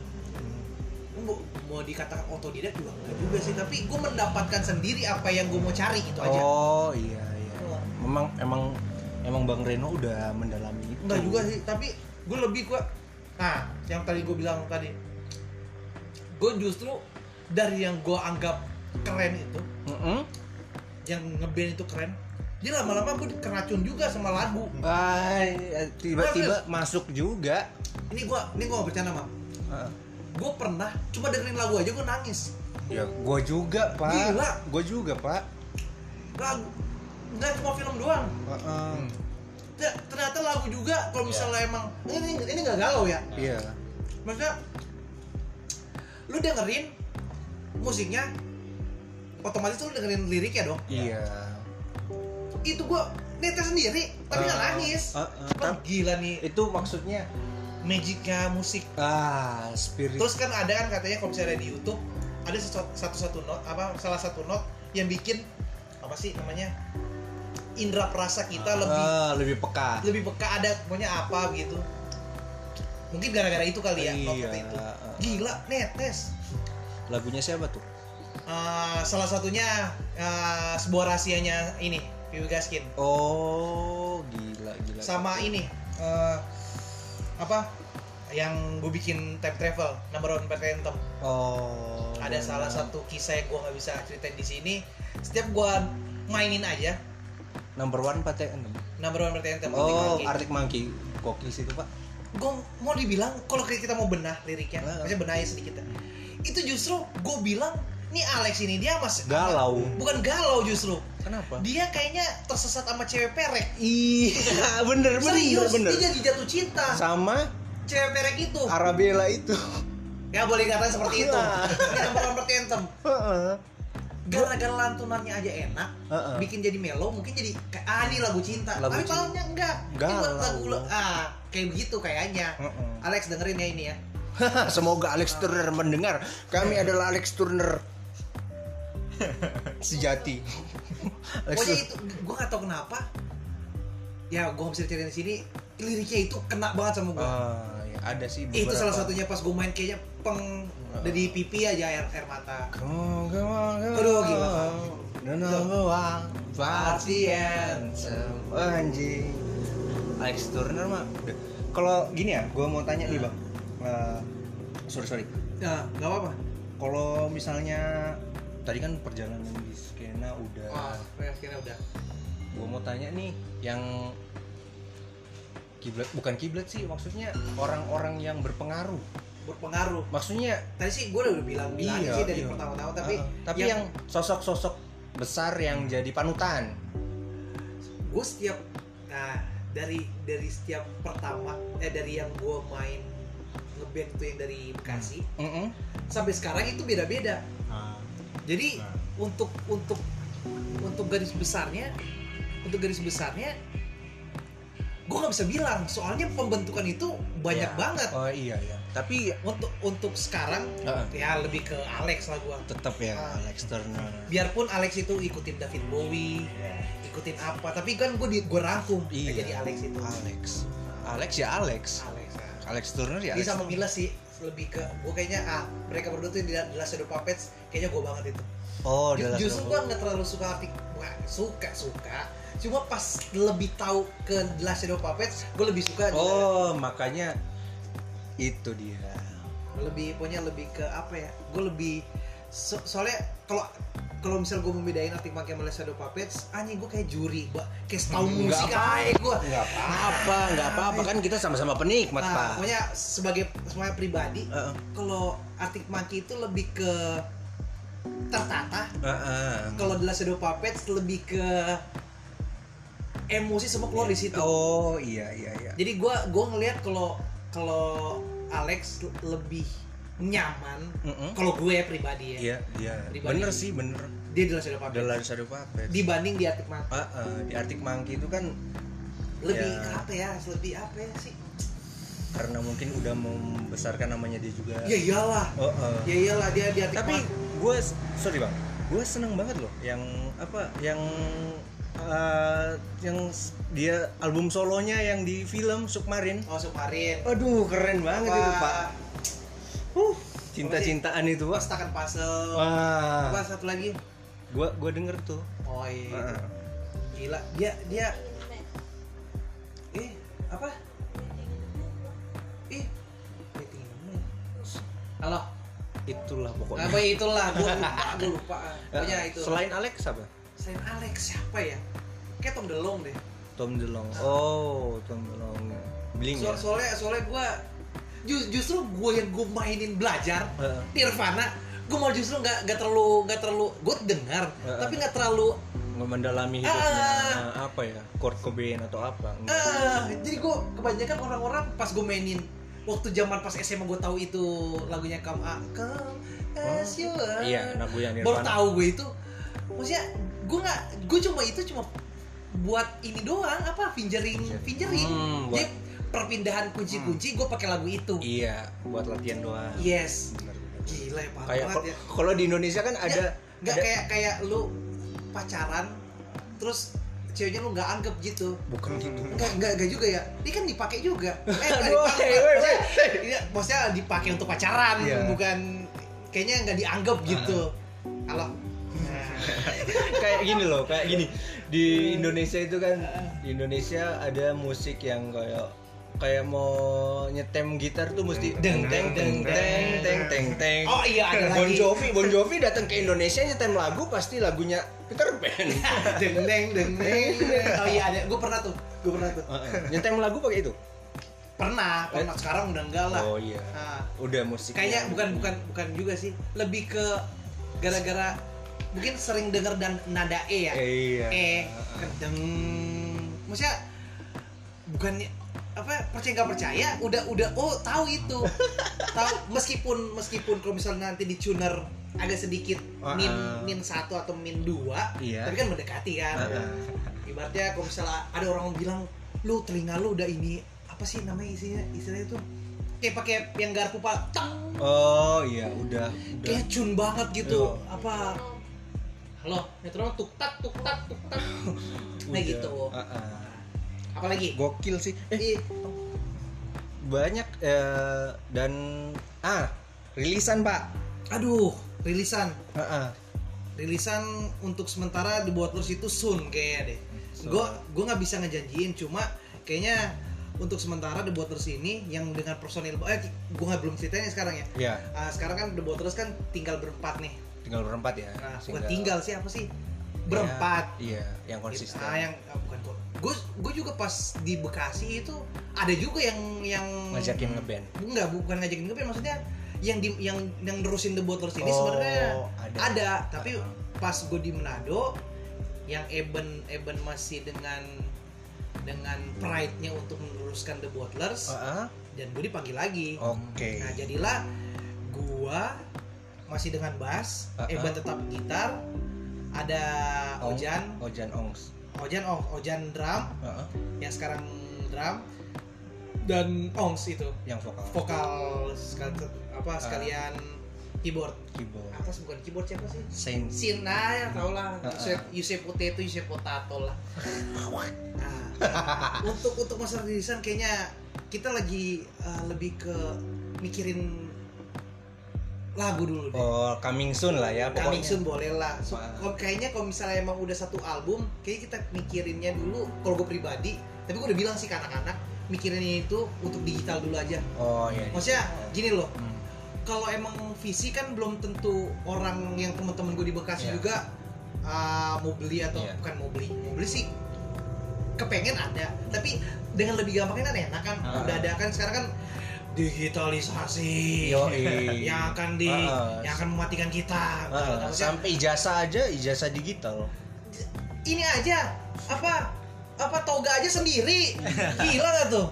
Speaker 2: mau, mau dikatakan otodidak juga enggak juga sih tapi gue mendapatkan sendiri apa yang gue mau cari itu aja
Speaker 1: Oh iya iya. Memang emang emang Bang Reno udah mendalami itu.
Speaker 2: enggak juga sih tapi gue lebih gue nah yang tadi gue bilang tadi gue justru dari yang gue anggap keren itu
Speaker 1: Mm-mm.
Speaker 2: yang ngeband itu keren jadi lama-lama gue keracun juga sama lagu
Speaker 1: Wah, Eh, tiba-tiba masuk juga.
Speaker 2: ini gue ini gue gak bercanda mam
Speaker 1: Ah.
Speaker 2: gue pernah cuma dengerin lagu aja gue nangis
Speaker 1: Ya, gua juga, Pak.
Speaker 2: Gila.
Speaker 1: Gua juga, Pak.
Speaker 2: lagu nggak cuma film doang
Speaker 1: Heeh.
Speaker 2: Ya, ternyata lagu juga kalau misalnya emang Iya. ini ini nggak galau ya
Speaker 1: Iya.
Speaker 2: maksudnya lu dengerin musiknya otomatis lu dengerin liriknya dong
Speaker 1: Iya.
Speaker 2: itu gua netes sendiri tapi nggak
Speaker 1: Ah,
Speaker 2: nangis
Speaker 1: ah, ah.
Speaker 2: Wah, gila nih
Speaker 1: Itu maksudnya
Speaker 2: magicnya musik
Speaker 1: ah spirit
Speaker 2: terus kan ada kan katanya kalau misalnya di YouTube ada sesuatu- satu-satu not apa salah satu not yang bikin apa sih namanya indra perasa kita lebih
Speaker 1: Ah, lebih peka.
Speaker 2: lebih peka ada pokoknya apa gitu mungkin gara-gara itu kali ya
Speaker 1: Iya.
Speaker 2: waktu itu gila netes
Speaker 1: Lagunya siapa tuh?
Speaker 2: Eh, salah satunya eh, sebuah rahasianya ini Piwi Gaskin
Speaker 1: Oh, gila gila.
Speaker 2: sama ini eh, apa yang gue bikin time travel number one pack anthem
Speaker 1: Oh.
Speaker 2: ada salah satu kisah yang gue nggak bisa ceritain di sini setiap gue mainin aja
Speaker 1: Number one Pak T6.
Speaker 2: number one pack anthem
Speaker 1: Oh, Arctic Monkey. Koki sih itu, Pak.
Speaker 2: gue mau dibilang kalau kita mau benah liriknya
Speaker 1: Ah.
Speaker 2: maksudnya benahi sedikit ya. itu justru gue bilang nih Alex ini dia mas
Speaker 1: Galau.
Speaker 2: bukan galau justru
Speaker 1: Kenapa?
Speaker 2: dia kayaknya tersesat sama cewek perek
Speaker 1: Iya, bener
Speaker 2: serius dia jadi
Speaker 1: Iya.
Speaker 2: jatuh cinta
Speaker 1: Sama
Speaker 2: cewek perek itu
Speaker 1: Arabella itu.
Speaker 2: ya boleh dikatakan seperti itu *laughs*
Speaker 1: Iya.
Speaker 2: ini nomor nomor anthem
Speaker 1: Heeh.
Speaker 2: gara-gara lantunannya aja enak
Speaker 1: Heeh.
Speaker 2: bikin jadi melo mungkin jadi kayak ah ini lagu cinta
Speaker 1: Lagu
Speaker 2: tapi
Speaker 1: cinta.
Speaker 2: malamnya enggak ini buat
Speaker 1: Galau.
Speaker 2: lagu ah kayak begitu kayaknya
Speaker 1: Heeh.
Speaker 2: Alex dengerin ya ini ya
Speaker 1: *laughs* Semoga Alex Turner mendengar. Kami adalah Alex *laughs* Turner sejati. Alex
Speaker 2: Pokoknya
Speaker 1: Turner.
Speaker 2: itu gue gak tau kenapa. Ya gue bisa ceritain di sini liriknya itu kena banget sama gue.
Speaker 1: Ah, ya, ada sih
Speaker 2: itu
Speaker 1: beberapa.
Speaker 2: salah satunya pas gue main kayaknya peng
Speaker 1: Ah.
Speaker 2: dari pipi aja air air mata.
Speaker 1: Come on, come on, come on.
Speaker 2: Aduh, gila.
Speaker 1: The number one party anthem. Wah, Anjing. Alex Turner mah. udah. Kalau gini ya, gue mau tanya nih bang. Eh, sorry sorry
Speaker 2: Nah, nggak apa-apa.
Speaker 1: Ya. kalau misalnya tadi kan perjalanan di skena udah
Speaker 2: Wah, ya, akhirnya udah.
Speaker 1: gue mau tanya nih yang kiblat bukan kiblat sih maksudnya orang-orang yang berpengaruh
Speaker 2: Berpengaruh.
Speaker 1: maksudnya
Speaker 2: Tadi sih gue udah bilang bilang
Speaker 1: Iya,
Speaker 2: sih dari
Speaker 1: iya.
Speaker 2: pertama-tama, tapi
Speaker 1: tapi tapi yang sosok-sosok besar yang jadi panutan
Speaker 2: gue setiap nah dari dari setiap pertama eh dari yang gue main ngeband tuh yang dari Bekasi
Speaker 1: Mm-mm.
Speaker 2: sampai sekarang itu beda-beda.
Speaker 3: Nah,
Speaker 2: Jadi
Speaker 3: nah.
Speaker 2: untuk untuk untuk garis besarnya untuk garis besarnya gue nggak bisa bilang soalnya pembentukan itu banyak
Speaker 3: Iya.
Speaker 2: banget
Speaker 1: oh iya ya tapi
Speaker 2: untuk untuk sekarang
Speaker 1: Heeh.
Speaker 2: ya lebih ke Alex lah gue
Speaker 1: tetap ya Alex Turner
Speaker 2: biarpun Alex itu ikutin David Bowie ikutin apa tapi kan gue di gue rangkum
Speaker 1: Iya.
Speaker 2: jadi Alex itu
Speaker 1: Alex Alex ya Alex
Speaker 2: Alex ya.
Speaker 1: Alex Turner ya
Speaker 2: dia
Speaker 1: Alex
Speaker 2: sama Mila sih lebih ke gue kayaknya ah mereka berdua tuh di The Last Shadow Puppets kayaknya gue banget itu
Speaker 1: oh
Speaker 2: Ju-
Speaker 1: The Last
Speaker 2: justru
Speaker 1: Room.
Speaker 2: gue nggak terlalu suka arti suka suka cuma pas lebih tahu ke The Last Shadow Puppets gue lebih suka
Speaker 1: oh makanya itu dia
Speaker 2: lebih punya lebih ke apa ya gue lebih so- soalnya kalau kalau misal gue membedain arti pakai Malaysia Shadow Puppets anjing gue kayak juri gua kayak setahun
Speaker 1: Hmm, Nggak
Speaker 2: musik aja gue
Speaker 1: nggak apa-apa nggak apa-apa kan kita sama-sama penikmat pak
Speaker 2: nah pokoknya sebagai semuanya pribadi
Speaker 1: Heeh.
Speaker 2: kalau Arctic Monkey itu lebih ke tertata
Speaker 1: Heeh.
Speaker 2: kalau The Last Shadow Puppets lebih ke emosi semua keluar di situ
Speaker 1: oh iya iya iya
Speaker 2: jadi gue gue ngelihat kalau kalau Alex lebih nyaman
Speaker 1: Mm-mm.
Speaker 2: kalau gue pribadi ya
Speaker 1: Iya, iya.
Speaker 2: Dibanding-
Speaker 1: Bener sih, bener.
Speaker 2: dia The Last Shadow Puppets
Speaker 1: The Last Shadow Puppets.
Speaker 2: dibanding di Arctic Monkey
Speaker 1: Ah, ah, di Arctic Monkey itu kan
Speaker 2: lebih
Speaker 1: Ya.
Speaker 2: apa ya lebih apa ya sih
Speaker 1: karena mungkin udah membesarkan namanya dia juga.
Speaker 2: ya iyalah
Speaker 1: Oh, ah.
Speaker 2: ya iyalah dia di Arctic
Speaker 1: Tapi
Speaker 2: Monkey
Speaker 1: gue, sorry bang, gue seneng banget loh yang apa, yang eh, yang s- dia album solonya yang di film Sukmarin.
Speaker 2: oh Submarin
Speaker 1: Aduh, keren banget itu gitu, pak. Huh, cinta-cintaan itu pak.
Speaker 2: Pastakan
Speaker 1: Oh.
Speaker 2: puzzle apa
Speaker 1: Wah,
Speaker 2: satu lagi
Speaker 1: gue gue denger tuh.
Speaker 2: oh iya
Speaker 1: Ah, ah.
Speaker 2: gila dia dia eh apa Eh, ih dating man. halo
Speaker 1: Itulah pokoknya. Eh,
Speaker 2: apa ya, itulah gue lupa gue
Speaker 1: *laughs*
Speaker 2: lupa pokoknya itu
Speaker 1: Selain Alex apa?
Speaker 2: selain Alex siapa ya kayak Tom DeLong deh
Speaker 1: Tom DeLonge. Oh, Tom DeLonge. Bling ya.
Speaker 2: So, soalnya soalnya gue justru gue yang gue mainin belajar
Speaker 1: Heeh.
Speaker 2: Nirvana gue mau justru nggak nggak terlalu nggak terlalu gue dengar
Speaker 1: Heeh.
Speaker 2: tapi nggak terlalu
Speaker 1: Nggak mendalami
Speaker 2: Ah.
Speaker 1: hidupnya apa ya? Kurt Cobain atau apa? Nggak.
Speaker 2: eh jadi gue kebanyakan orang-orang pas gue mainin waktu zaman pas SMA gue tahu itu lagunya Come A- Come As You Are.
Speaker 1: Iya, lagu yang
Speaker 2: baru
Speaker 1: Nirvana.
Speaker 2: tahu gue itu maksudnya gue nggak gue cuma itu cuma buat ini doang apa fingering fingering
Speaker 1: Hmm, buat- Hmm.
Speaker 2: jadi perpindahan kunci-kunci gue pakai lagu itu
Speaker 1: Iya, buat latihan doang.
Speaker 2: yes
Speaker 1: Benar, benar.
Speaker 2: gila ya parah
Speaker 1: Kayak
Speaker 2: banget
Speaker 1: kal-
Speaker 2: ya
Speaker 1: kalau di Indonesia kan ada
Speaker 2: nggak
Speaker 1: ada-
Speaker 2: kayak kayak lu pacaran terus ceweknya lu nggak anggap gitu
Speaker 1: bukan gitu.
Speaker 2: Enggak, enggak, enggak juga ya. Ini kan dipakai juga.
Speaker 1: *laughs*
Speaker 2: Eh, enggak
Speaker 1: Aduh,
Speaker 2: dipakai.
Speaker 1: woi, woi,
Speaker 2: Maksudnya- Iya, maksudnya dipakai untuk pacaran,
Speaker 1: Iya. Ah.
Speaker 2: bukan kayaknya enggak dianggap gitu. Kalau
Speaker 1: kayak gini loh, kayak gini.
Speaker 2: Hmm.
Speaker 1: Di Indonesia itu kan di Indonesia ada musik yang kayak kayak mau nyetem gitar tuh mesti deng teng teng teng teng teng teng
Speaker 2: Oh
Speaker 1: *laughs*
Speaker 2: iya, ada lagi.
Speaker 1: Bon Jovi Bon Jovi datang ke Indonesia nyetem lagu pasti lagunya Peter
Speaker 2: *laughs*
Speaker 1: Pan
Speaker 2: deng deng deng deng. Oh iya, ada. Gue pernah tuh. Gue pernah tuh.
Speaker 1: nyetem lagu pakai itu
Speaker 2: Pernah, pernah. Sekarang udah enggak lah.
Speaker 1: oh iya
Speaker 2: Nah,
Speaker 1: udah musik
Speaker 2: kayaknya bukan bukan bukan juga sih. Lebih ke gara-gara mungkin sering denger dan nada E ya.
Speaker 1: iya
Speaker 2: eh kedeng maksudnya bukannya apa percaya nggak percaya udah udah oh tahu itu tahu meskipun meskipun kalau misalnya nanti di tuner agak sedikit min
Speaker 1: Ah.
Speaker 2: min satu atau min dua
Speaker 1: Iya. ah.
Speaker 2: tapi kan mendekati kan
Speaker 1: Heeh.
Speaker 2: ibaratnya kalau misalnya ada orang bilang lu telinga lu udah ini apa sih namanya isinya istilahnya itu kayak pakai yang garpu pak teng
Speaker 1: oh iya udah udah
Speaker 2: kayak cun banget gitu
Speaker 1: Iya.
Speaker 2: apa halo metronom tuk tak tuk tak tuk
Speaker 1: *laughs*
Speaker 2: tak nah
Speaker 1: udah.
Speaker 2: gitu
Speaker 1: Heeh.
Speaker 2: apalagi
Speaker 1: gokil sih eh
Speaker 2: Ih,
Speaker 1: banyak eh, dan ah rilisan pak
Speaker 2: aduh rilisan
Speaker 1: Heeh.
Speaker 2: rilisan untuk sementara dibuat terus itu soon kayaknya deh
Speaker 1: Soon.
Speaker 2: gue gue nggak bisa ngejanjiin cuma kayaknya untuk sementara The Bottlers ini yang dengan personil eh gue nggak belum ceritain ya sekarang ya
Speaker 1: Iya,
Speaker 2: Ah, sekarang kan The Bottlers kan tinggal berempat nih
Speaker 1: tinggal berempat ya.
Speaker 2: nah, bukan
Speaker 1: Single.
Speaker 2: tinggal sih apa sih berempat
Speaker 1: Iya, yang konsisten.
Speaker 2: Ah, yang ah, bukan kok. Gue gue juga pas di Bekasi itu ada juga yang yang
Speaker 1: ngajakin ngeband.
Speaker 2: enggak bukan ngajakin ngeband maksudnya yang di, yang yang nerusin The Bottlers ini sebenarnya
Speaker 3: Oh, ada.
Speaker 2: ada
Speaker 1: Ah,
Speaker 2: tapi pas gue di Manado yang Eben Eben masih dengan dengan pride-nya untuk meneruskan The Bottlers
Speaker 1: Heeh.
Speaker 2: dan gue dipanggil
Speaker 1: Oh,
Speaker 2: lagi.
Speaker 1: Oke.
Speaker 2: Nah, jadilah gua masih dengan bass,
Speaker 1: Ah,
Speaker 2: Eben tetap gitar, ada
Speaker 1: Ong.
Speaker 2: Ojan,
Speaker 1: Ojan Ongs.
Speaker 2: Ojan oh, Ojan drum
Speaker 1: Heeh.
Speaker 2: yang sekarang drum dan Ongs itu
Speaker 1: Yang vokal.
Speaker 2: vokal sekal- apa
Speaker 1: Ah.
Speaker 2: sekalian keyboard
Speaker 1: Keyboard.
Speaker 2: apa sih bukan keyboard siapa sih
Speaker 1: Saint
Speaker 2: Sina ya tau lah
Speaker 1: Ah,
Speaker 2: Yusef Yusef Potato Yusef Potato
Speaker 1: *laughs*
Speaker 2: lah Nah, untuk untuk masalah desain kayaknya kita lagi eh, lebih ke mikirin lagu dulu deh.
Speaker 1: Oh, coming soon lah ya pokoknya.
Speaker 2: Coming soon boleh lah. So,
Speaker 1: Wah.
Speaker 2: kalau- kayaknya kalau misalnya emang udah satu album, kayaknya kita mikirinnya dulu. Kalau gue pribadi, tapi gue udah bilang sih ke anak-anak, mikirinnya itu untuk digital dulu aja.
Speaker 1: Oh iya. iya.
Speaker 2: Maksudnya gini loh,
Speaker 1: Hmm.
Speaker 2: kalau emang visi kan belum tentu orang yang teman-teman gue di Bekasi
Speaker 1: Iya.
Speaker 2: juga uh, mau beli atau
Speaker 1: Iya.
Speaker 2: bukan mau beli mau beli sih kepengen ada tapi dengan lebih gampangnya kan enak kan
Speaker 1: Ah.
Speaker 2: udah ada kan sekarang kan digitalisasi
Speaker 1: Yoi.
Speaker 2: *laughs* yang akan di
Speaker 1: Ah, ah.
Speaker 2: yang akan mematikan kita
Speaker 1: Heeh,
Speaker 2: Maksudnya,
Speaker 1: sampai ijazah aja ijazah digital.
Speaker 2: ini aja apa apa toga aja
Speaker 1: *laughs*
Speaker 2: sendiri gila gak tuh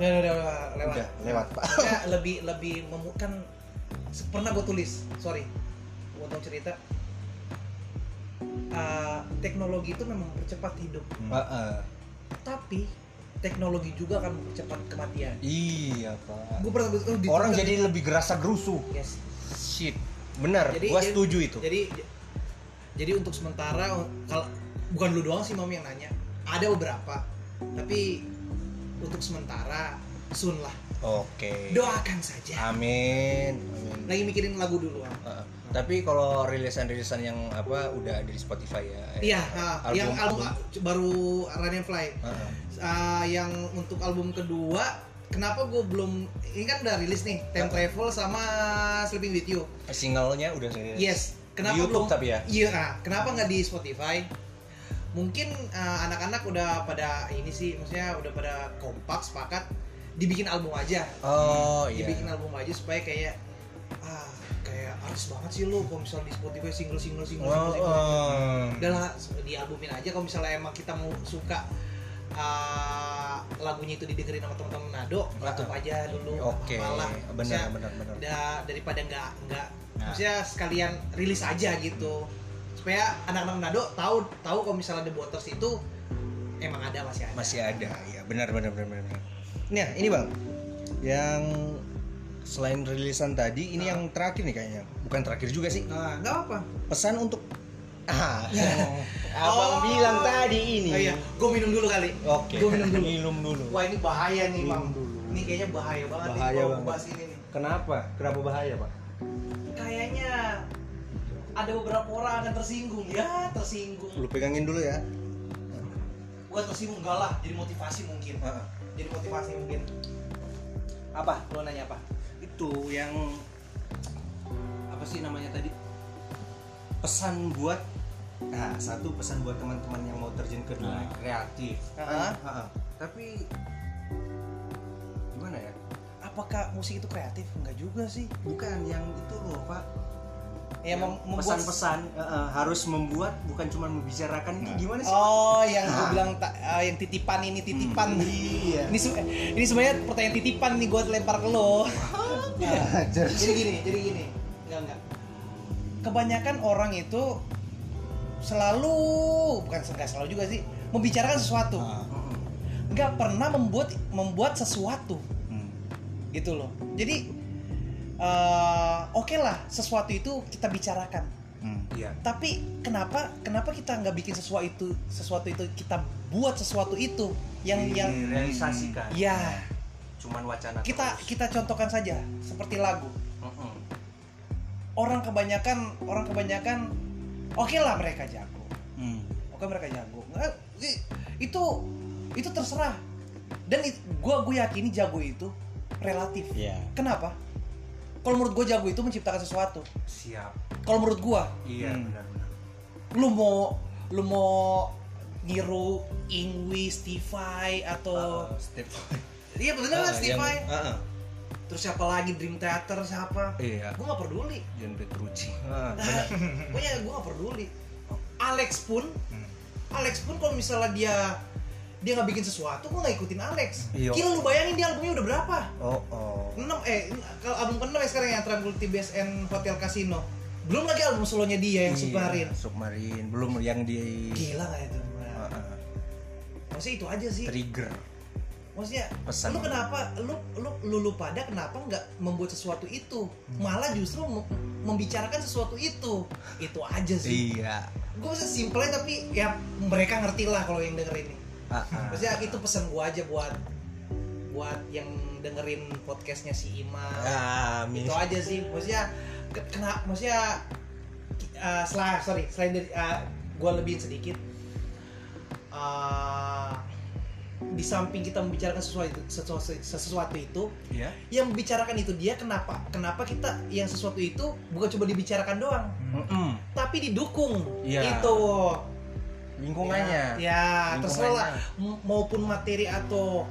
Speaker 1: Ya, Pak.
Speaker 2: udah, udah, udah, udah, lewat
Speaker 1: Udah, lewat, Pak.
Speaker 2: Maksudnya lebih lebih memu- kan se- pernah gue tulis sorry gue tau cerita Eh, teknologi itu memang mempercepat hidup
Speaker 1: Heeh.
Speaker 2: tapi teknologi juga akan mempercepat kematian
Speaker 1: Iya, Pak.
Speaker 2: gue pernah tulis, oh, di-
Speaker 1: Orang
Speaker 2: kan-
Speaker 1: jadi lebih gerasa gerusu.
Speaker 2: yes
Speaker 1: Shit. Benar,
Speaker 2: Jadi-
Speaker 1: gua
Speaker 2: jadi-
Speaker 1: setuju itu.
Speaker 2: jadi jadi untuk sementara oh, kalau bukan lu doang sih mami yang nanya ada beberapa tapi untuk sementara soon lah
Speaker 1: Oke.
Speaker 2: doakan saja
Speaker 1: Amin. Amin.
Speaker 2: lagi mikirin lagu dulu Am.
Speaker 1: Heeh. tapi kalau rilisan-rilisan yang apa udah ada di Spotify ya?
Speaker 2: Iya, ah,
Speaker 1: Album-
Speaker 2: yang album,
Speaker 1: album.
Speaker 2: ah, baru Run and Fly.
Speaker 1: Heeh.
Speaker 2: Ah, yang untuk album kedua, kenapa gue belum ini kan udah rilis nih, Time Travel sama Sleeping with You.
Speaker 1: Eh, Singlenya udah saya.
Speaker 2: Yes, kenapa
Speaker 1: Di YouTube
Speaker 2: belum?
Speaker 1: tapi ya?
Speaker 2: Iya, ah, kenapa nggak di Spotify? Mungkin ah, anak-anak udah pada ini sih, maksudnya udah pada kompak sepakat dibikin album aja,
Speaker 1: Oh iya.
Speaker 2: dibikin album aja supaya kayak ah kayak artis banget sih lo kalau misalnya di Spotify single single single single,
Speaker 1: Oh,
Speaker 2: single.
Speaker 1: oh.
Speaker 2: udahlah di albumin aja kalau misalnya emang kita mau suka uh, lagunya itu didengerin sama teman-teman Nado tutup aja dulu
Speaker 1: Oke,
Speaker 2: malah
Speaker 1: benar benar benar.
Speaker 2: daripada nggak nggak
Speaker 1: Nah.
Speaker 2: maksudnya sekalian rilis aja gitu supaya anak-anak Nado tahu tahu kalau misalnya The Waters itu emang ada masih ada
Speaker 1: Masih ada, ya benar benar benar benar. benar. Nah, ini Bang. Yang selain rilisan tadi, ini
Speaker 2: Ah.
Speaker 1: yang terakhir nih kayaknya. Bukan terakhir juga sih.
Speaker 2: nah nggak apa
Speaker 1: Pesan untuk Ah,
Speaker 2: Oh.
Speaker 1: *laughs* Abang bilang tadi ini.
Speaker 2: oh, iya gue minum dulu kali
Speaker 1: Oke.
Speaker 2: Gua minum dulu.
Speaker 1: Minum dulu.
Speaker 2: wah ini bahaya nih bang
Speaker 1: Minum dulu.
Speaker 2: ini kayaknya bahaya banget nih
Speaker 1: Bahaya
Speaker 2: kalau
Speaker 1: banget.
Speaker 2: bahas ini nih
Speaker 1: Kenapa? Kenapa bahaya, Pak?
Speaker 2: kayaknya ada beberapa orang yang tersinggung ya tersinggung
Speaker 1: Lu pegangin dulu ya.
Speaker 2: gua tersinggung enggak lah jadi motivasi mungkin
Speaker 1: Heeh.
Speaker 2: jadi motivasi mungkin apa lo nanya apa
Speaker 1: itu yang apa sih namanya tadi pesan buat nah satu pesan buat teman-teman yang mau terjun ke dunia
Speaker 4: Ah.
Speaker 1: kreatif
Speaker 2: Ah.
Speaker 1: Ah, ah. tapi gimana ya
Speaker 2: apakah musik itu kreatif enggak juga sih
Speaker 1: bukan yang itu loh pak
Speaker 2: ya mem-
Speaker 1: Iya.
Speaker 2: membuat
Speaker 1: pesan-pesan ah, ah, harus membuat bukan cuma membicarakan ini
Speaker 4: Nah.
Speaker 1: gimana sih
Speaker 2: oh yang gua
Speaker 1: Ah.
Speaker 2: bilang ta- ah, yang titipan ini titipan
Speaker 1: iya
Speaker 2: ini se- ini sebenarnya pertanyaan titipan nih gua lempar ke lo Nah, jadi gini jadi gini enggak enggak kebanyakan orang itu selalu bukan enggak selalu juga sih membicarakan sesuatu
Speaker 1: Mm-mm.
Speaker 2: nggak pernah membuat membuat sesuatu
Speaker 4: Hmm.
Speaker 2: gitu loh jadi eh, oke lah sesuatu itu kita bicarakan
Speaker 4: Hmm.
Speaker 1: iya
Speaker 2: tapi kenapa kenapa kita nggak bikin sesuatu itu sesuatu itu kita buat sesuatu itu yang
Speaker 4: Iya,
Speaker 2: yang
Speaker 1: direalisasikan
Speaker 2: ya
Speaker 1: cuman wacana
Speaker 2: kita
Speaker 1: terus.
Speaker 2: kita contohkan saja seperti lagu
Speaker 1: Mm-mm.
Speaker 2: orang kebanyakan orang kebanyakan oke lah mereka jago
Speaker 4: Hmm.
Speaker 2: oke mereka jago nggak i- itu itu terserah dan it- gua gue yakini jago itu relatif
Speaker 4: Iya.
Speaker 2: kenapa kalau menurut gue jago itu menciptakan sesuatu
Speaker 3: siap
Speaker 2: kalau menurut gua
Speaker 3: iya
Speaker 4: Hmm.
Speaker 3: benar-benar
Speaker 2: lu mau lu mau niru Ingwi, Stevie atau
Speaker 1: Ah, step
Speaker 2: iya benar kan
Speaker 1: Ah,
Speaker 2: Stevie
Speaker 1: yang- ah, ah.
Speaker 2: terus siapa lagi Dream Theater siapa
Speaker 1: Iya.
Speaker 2: gue nggak
Speaker 1: *laughs*
Speaker 2: peduli
Speaker 1: John Petrucci. Ah,
Speaker 2: nah, gue ya gue nggak peduli Alex pun
Speaker 3: Hmm.
Speaker 2: Alex pun kalau misalnya dia dia nggak bikin sesuatu gue nggak ikutin Alex
Speaker 1: Iya.
Speaker 2: gila lu bayangin dia albumnya udah berapa
Speaker 1: Oh, oh.
Speaker 2: 6 eh kalau album ke-6 ya sekarang yang Tranquility Base and Hotel Casino belum lagi album solonya dia yang Submarin
Speaker 1: Iya, Submarin. Belum yang di
Speaker 2: gila nggak itu
Speaker 1: Ah, ah.
Speaker 2: maksudnya itu aja sih
Speaker 1: Trigger.
Speaker 2: maksudnya
Speaker 1: Pesan.
Speaker 2: lu kenapa lu lu lu, lu pada kenapa nggak membuat sesuatu itu malah justru mem- membicarakan sesuatu itu itu aja sih
Speaker 1: Iya.
Speaker 2: gue bisa simple tapi ya mereka ngerti lah kalau yang denger ini
Speaker 1: Ah, ah.
Speaker 2: maksudnya itu pesan gue aja buat buat yang dengerin podcastnya si Ima
Speaker 1: Ya. Amin.
Speaker 2: itu Gitu aja sih maksudnya ke- kena maksudnya eh selain sorry selain dari eh, gua lebih sedikit Eh, di samping kita membicarakan sesuatu sesuatu, sesuatu itu
Speaker 1: Iya.
Speaker 2: yang membicarakan itu dia kenapa kenapa kita yang sesuatu itu bukan cuma dibicarakan doang
Speaker 1: Mm-mm.
Speaker 2: tapi didukung
Speaker 1: Iya.
Speaker 2: itu
Speaker 1: Lingkungannya.
Speaker 2: ya terserah lah
Speaker 1: Lingkungannya.
Speaker 2: M- maupun materi atau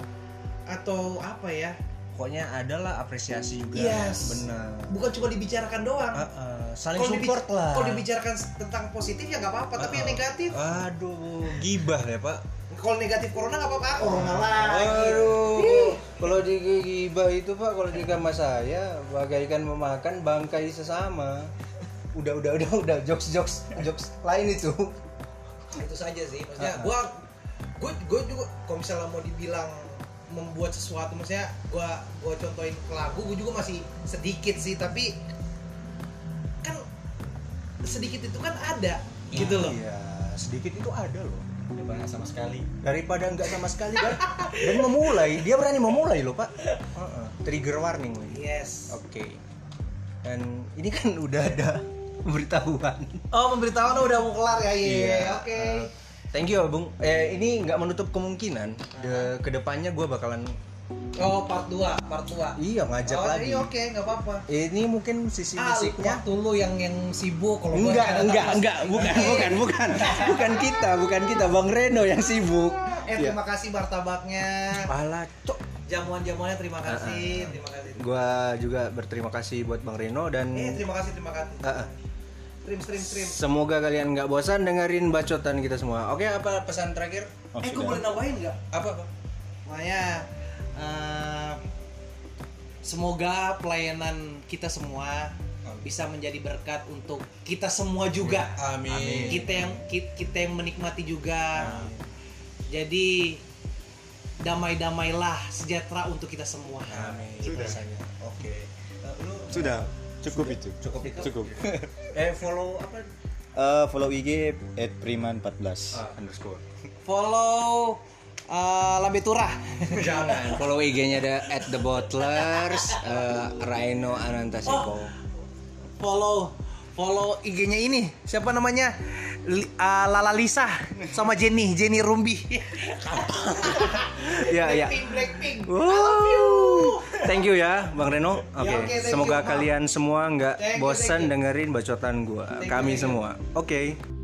Speaker 2: atau apa ya
Speaker 1: Pokoknya adalah apresiasi juga.
Speaker 2: Yes.
Speaker 1: Benar.
Speaker 2: bukan cuma dibicarakan doang
Speaker 1: Ah, ah. Saling
Speaker 2: Kalau dibic-
Speaker 1: support lah.
Speaker 2: kalau dibicarakan s- tentang positif ya nggak apa-apa tapi yang
Speaker 1: Ah, ah.
Speaker 2: negatif
Speaker 1: Aduh, gibah ya, Pak.
Speaker 2: kalau negatif corona nggak apa-apa corona lagi
Speaker 1: Aduh, kalau di gibah itu pak, kalau di kamar saya bagaikan memakan bangkai sesama. Udah, udah, udah, udah, jokes, jokes, jokes lain itu.
Speaker 2: gitu. itu saja sih
Speaker 1: Ah,
Speaker 2: maksudnya
Speaker 1: ah.
Speaker 2: gua gua gua juga kalau misalnya mau dibilang membuat sesuatu maksudnya gua gua contohin ke lagu gua juga masih sedikit sih tapi kan sedikit itu kan ada gitu loh
Speaker 1: Iya, sedikit itu ada loh.
Speaker 4: Udah bahas sama sekali.
Speaker 1: Daripada nggak sama sekali kan, dan memulai, dia berani memulai loh pak. Heeh, Trigger warning lagi.
Speaker 2: yes
Speaker 1: Oke. Dan ini kan udah ada *laughs* pemberitahuan.
Speaker 2: oh pemberitahuan udah mau kelar ya iya
Speaker 1: Iya,
Speaker 2: oke
Speaker 1: uh, thank you bung. Eh ini nggak menutup kemungkinan. De- kedepannya gue bakalan
Speaker 2: oh part 2 part 2
Speaker 1: iya ngajak
Speaker 2: oh,
Speaker 1: lagi.
Speaker 2: iya, oke nggak apa-apa
Speaker 1: Ini mungkin sisi
Speaker 2: Ah, lu
Speaker 1: musiknya.
Speaker 2: waktu lu yang yang sibuk kalau gua
Speaker 1: Enggak,
Speaker 2: kadang-
Speaker 1: enggak, enggak, bukan, bukan, bukan, bukan kita, bukan kita, Bang Reno yang sibuk.
Speaker 2: Eh terima kasih
Speaker 1: *laughs*
Speaker 2: martabaknya,
Speaker 1: Pala, cok.
Speaker 2: jamuan-jamuannya
Speaker 1: Ah,
Speaker 2: terima
Speaker 1: ah,
Speaker 2: kasih, terima kasih.
Speaker 1: Gua juga berterima kasih buat Bang Reno dan
Speaker 2: Eh terima kasih, terima kasih.
Speaker 1: Ah, ah.
Speaker 2: Stream, stream, stream.
Speaker 1: semoga kalian nggak bosan dengerin bacotan kita semua. Oke, apa pesan terakhir?
Speaker 4: Oh,
Speaker 2: eh gue
Speaker 4: sudah.
Speaker 2: boleh nambahin nggak?
Speaker 1: Apa? Bang?
Speaker 2: Makanya eh, semoga pelayanan kita semua bisa menjadi berkat untuk kita semua juga.
Speaker 1: Amin.
Speaker 2: Kita yang ki- kita yang menikmati juga. Jadi damai-damailah sejahtera untuk kita semua.
Speaker 1: Amin.
Speaker 2: Gitu.
Speaker 1: Rasanya. Oke. Eh, lu
Speaker 3: sudah cukup itu
Speaker 1: cukup itu.
Speaker 3: cukup
Speaker 1: Eh
Speaker 2: Iya.
Speaker 1: follow apa?
Speaker 4: Eh, follow IG at Prima14.
Speaker 1: Ah, underscore.
Speaker 2: Follow eh, Lambe Turah.
Speaker 1: Jangan. Follow IG-nya ada at the bottlers eh, Raino Anantaseko.
Speaker 2: follow follow IG-nya ini siapa namanya Li- ah, Lala Lisa sama Jenny Jenny Rumbi
Speaker 1: Ya ya.
Speaker 2: Blackpink
Speaker 1: Wow. Thank you ya Bang Reno. Oke.
Speaker 2: Ya, oke, thank
Speaker 1: Semoga
Speaker 2: you, Bang.
Speaker 1: kalian semua nggak
Speaker 2: Thank you,
Speaker 1: bosan
Speaker 2: thank you.
Speaker 1: dengerin bacotan gua.
Speaker 2: Thank you,
Speaker 1: Kami
Speaker 2: thank you.
Speaker 1: semua. Oke.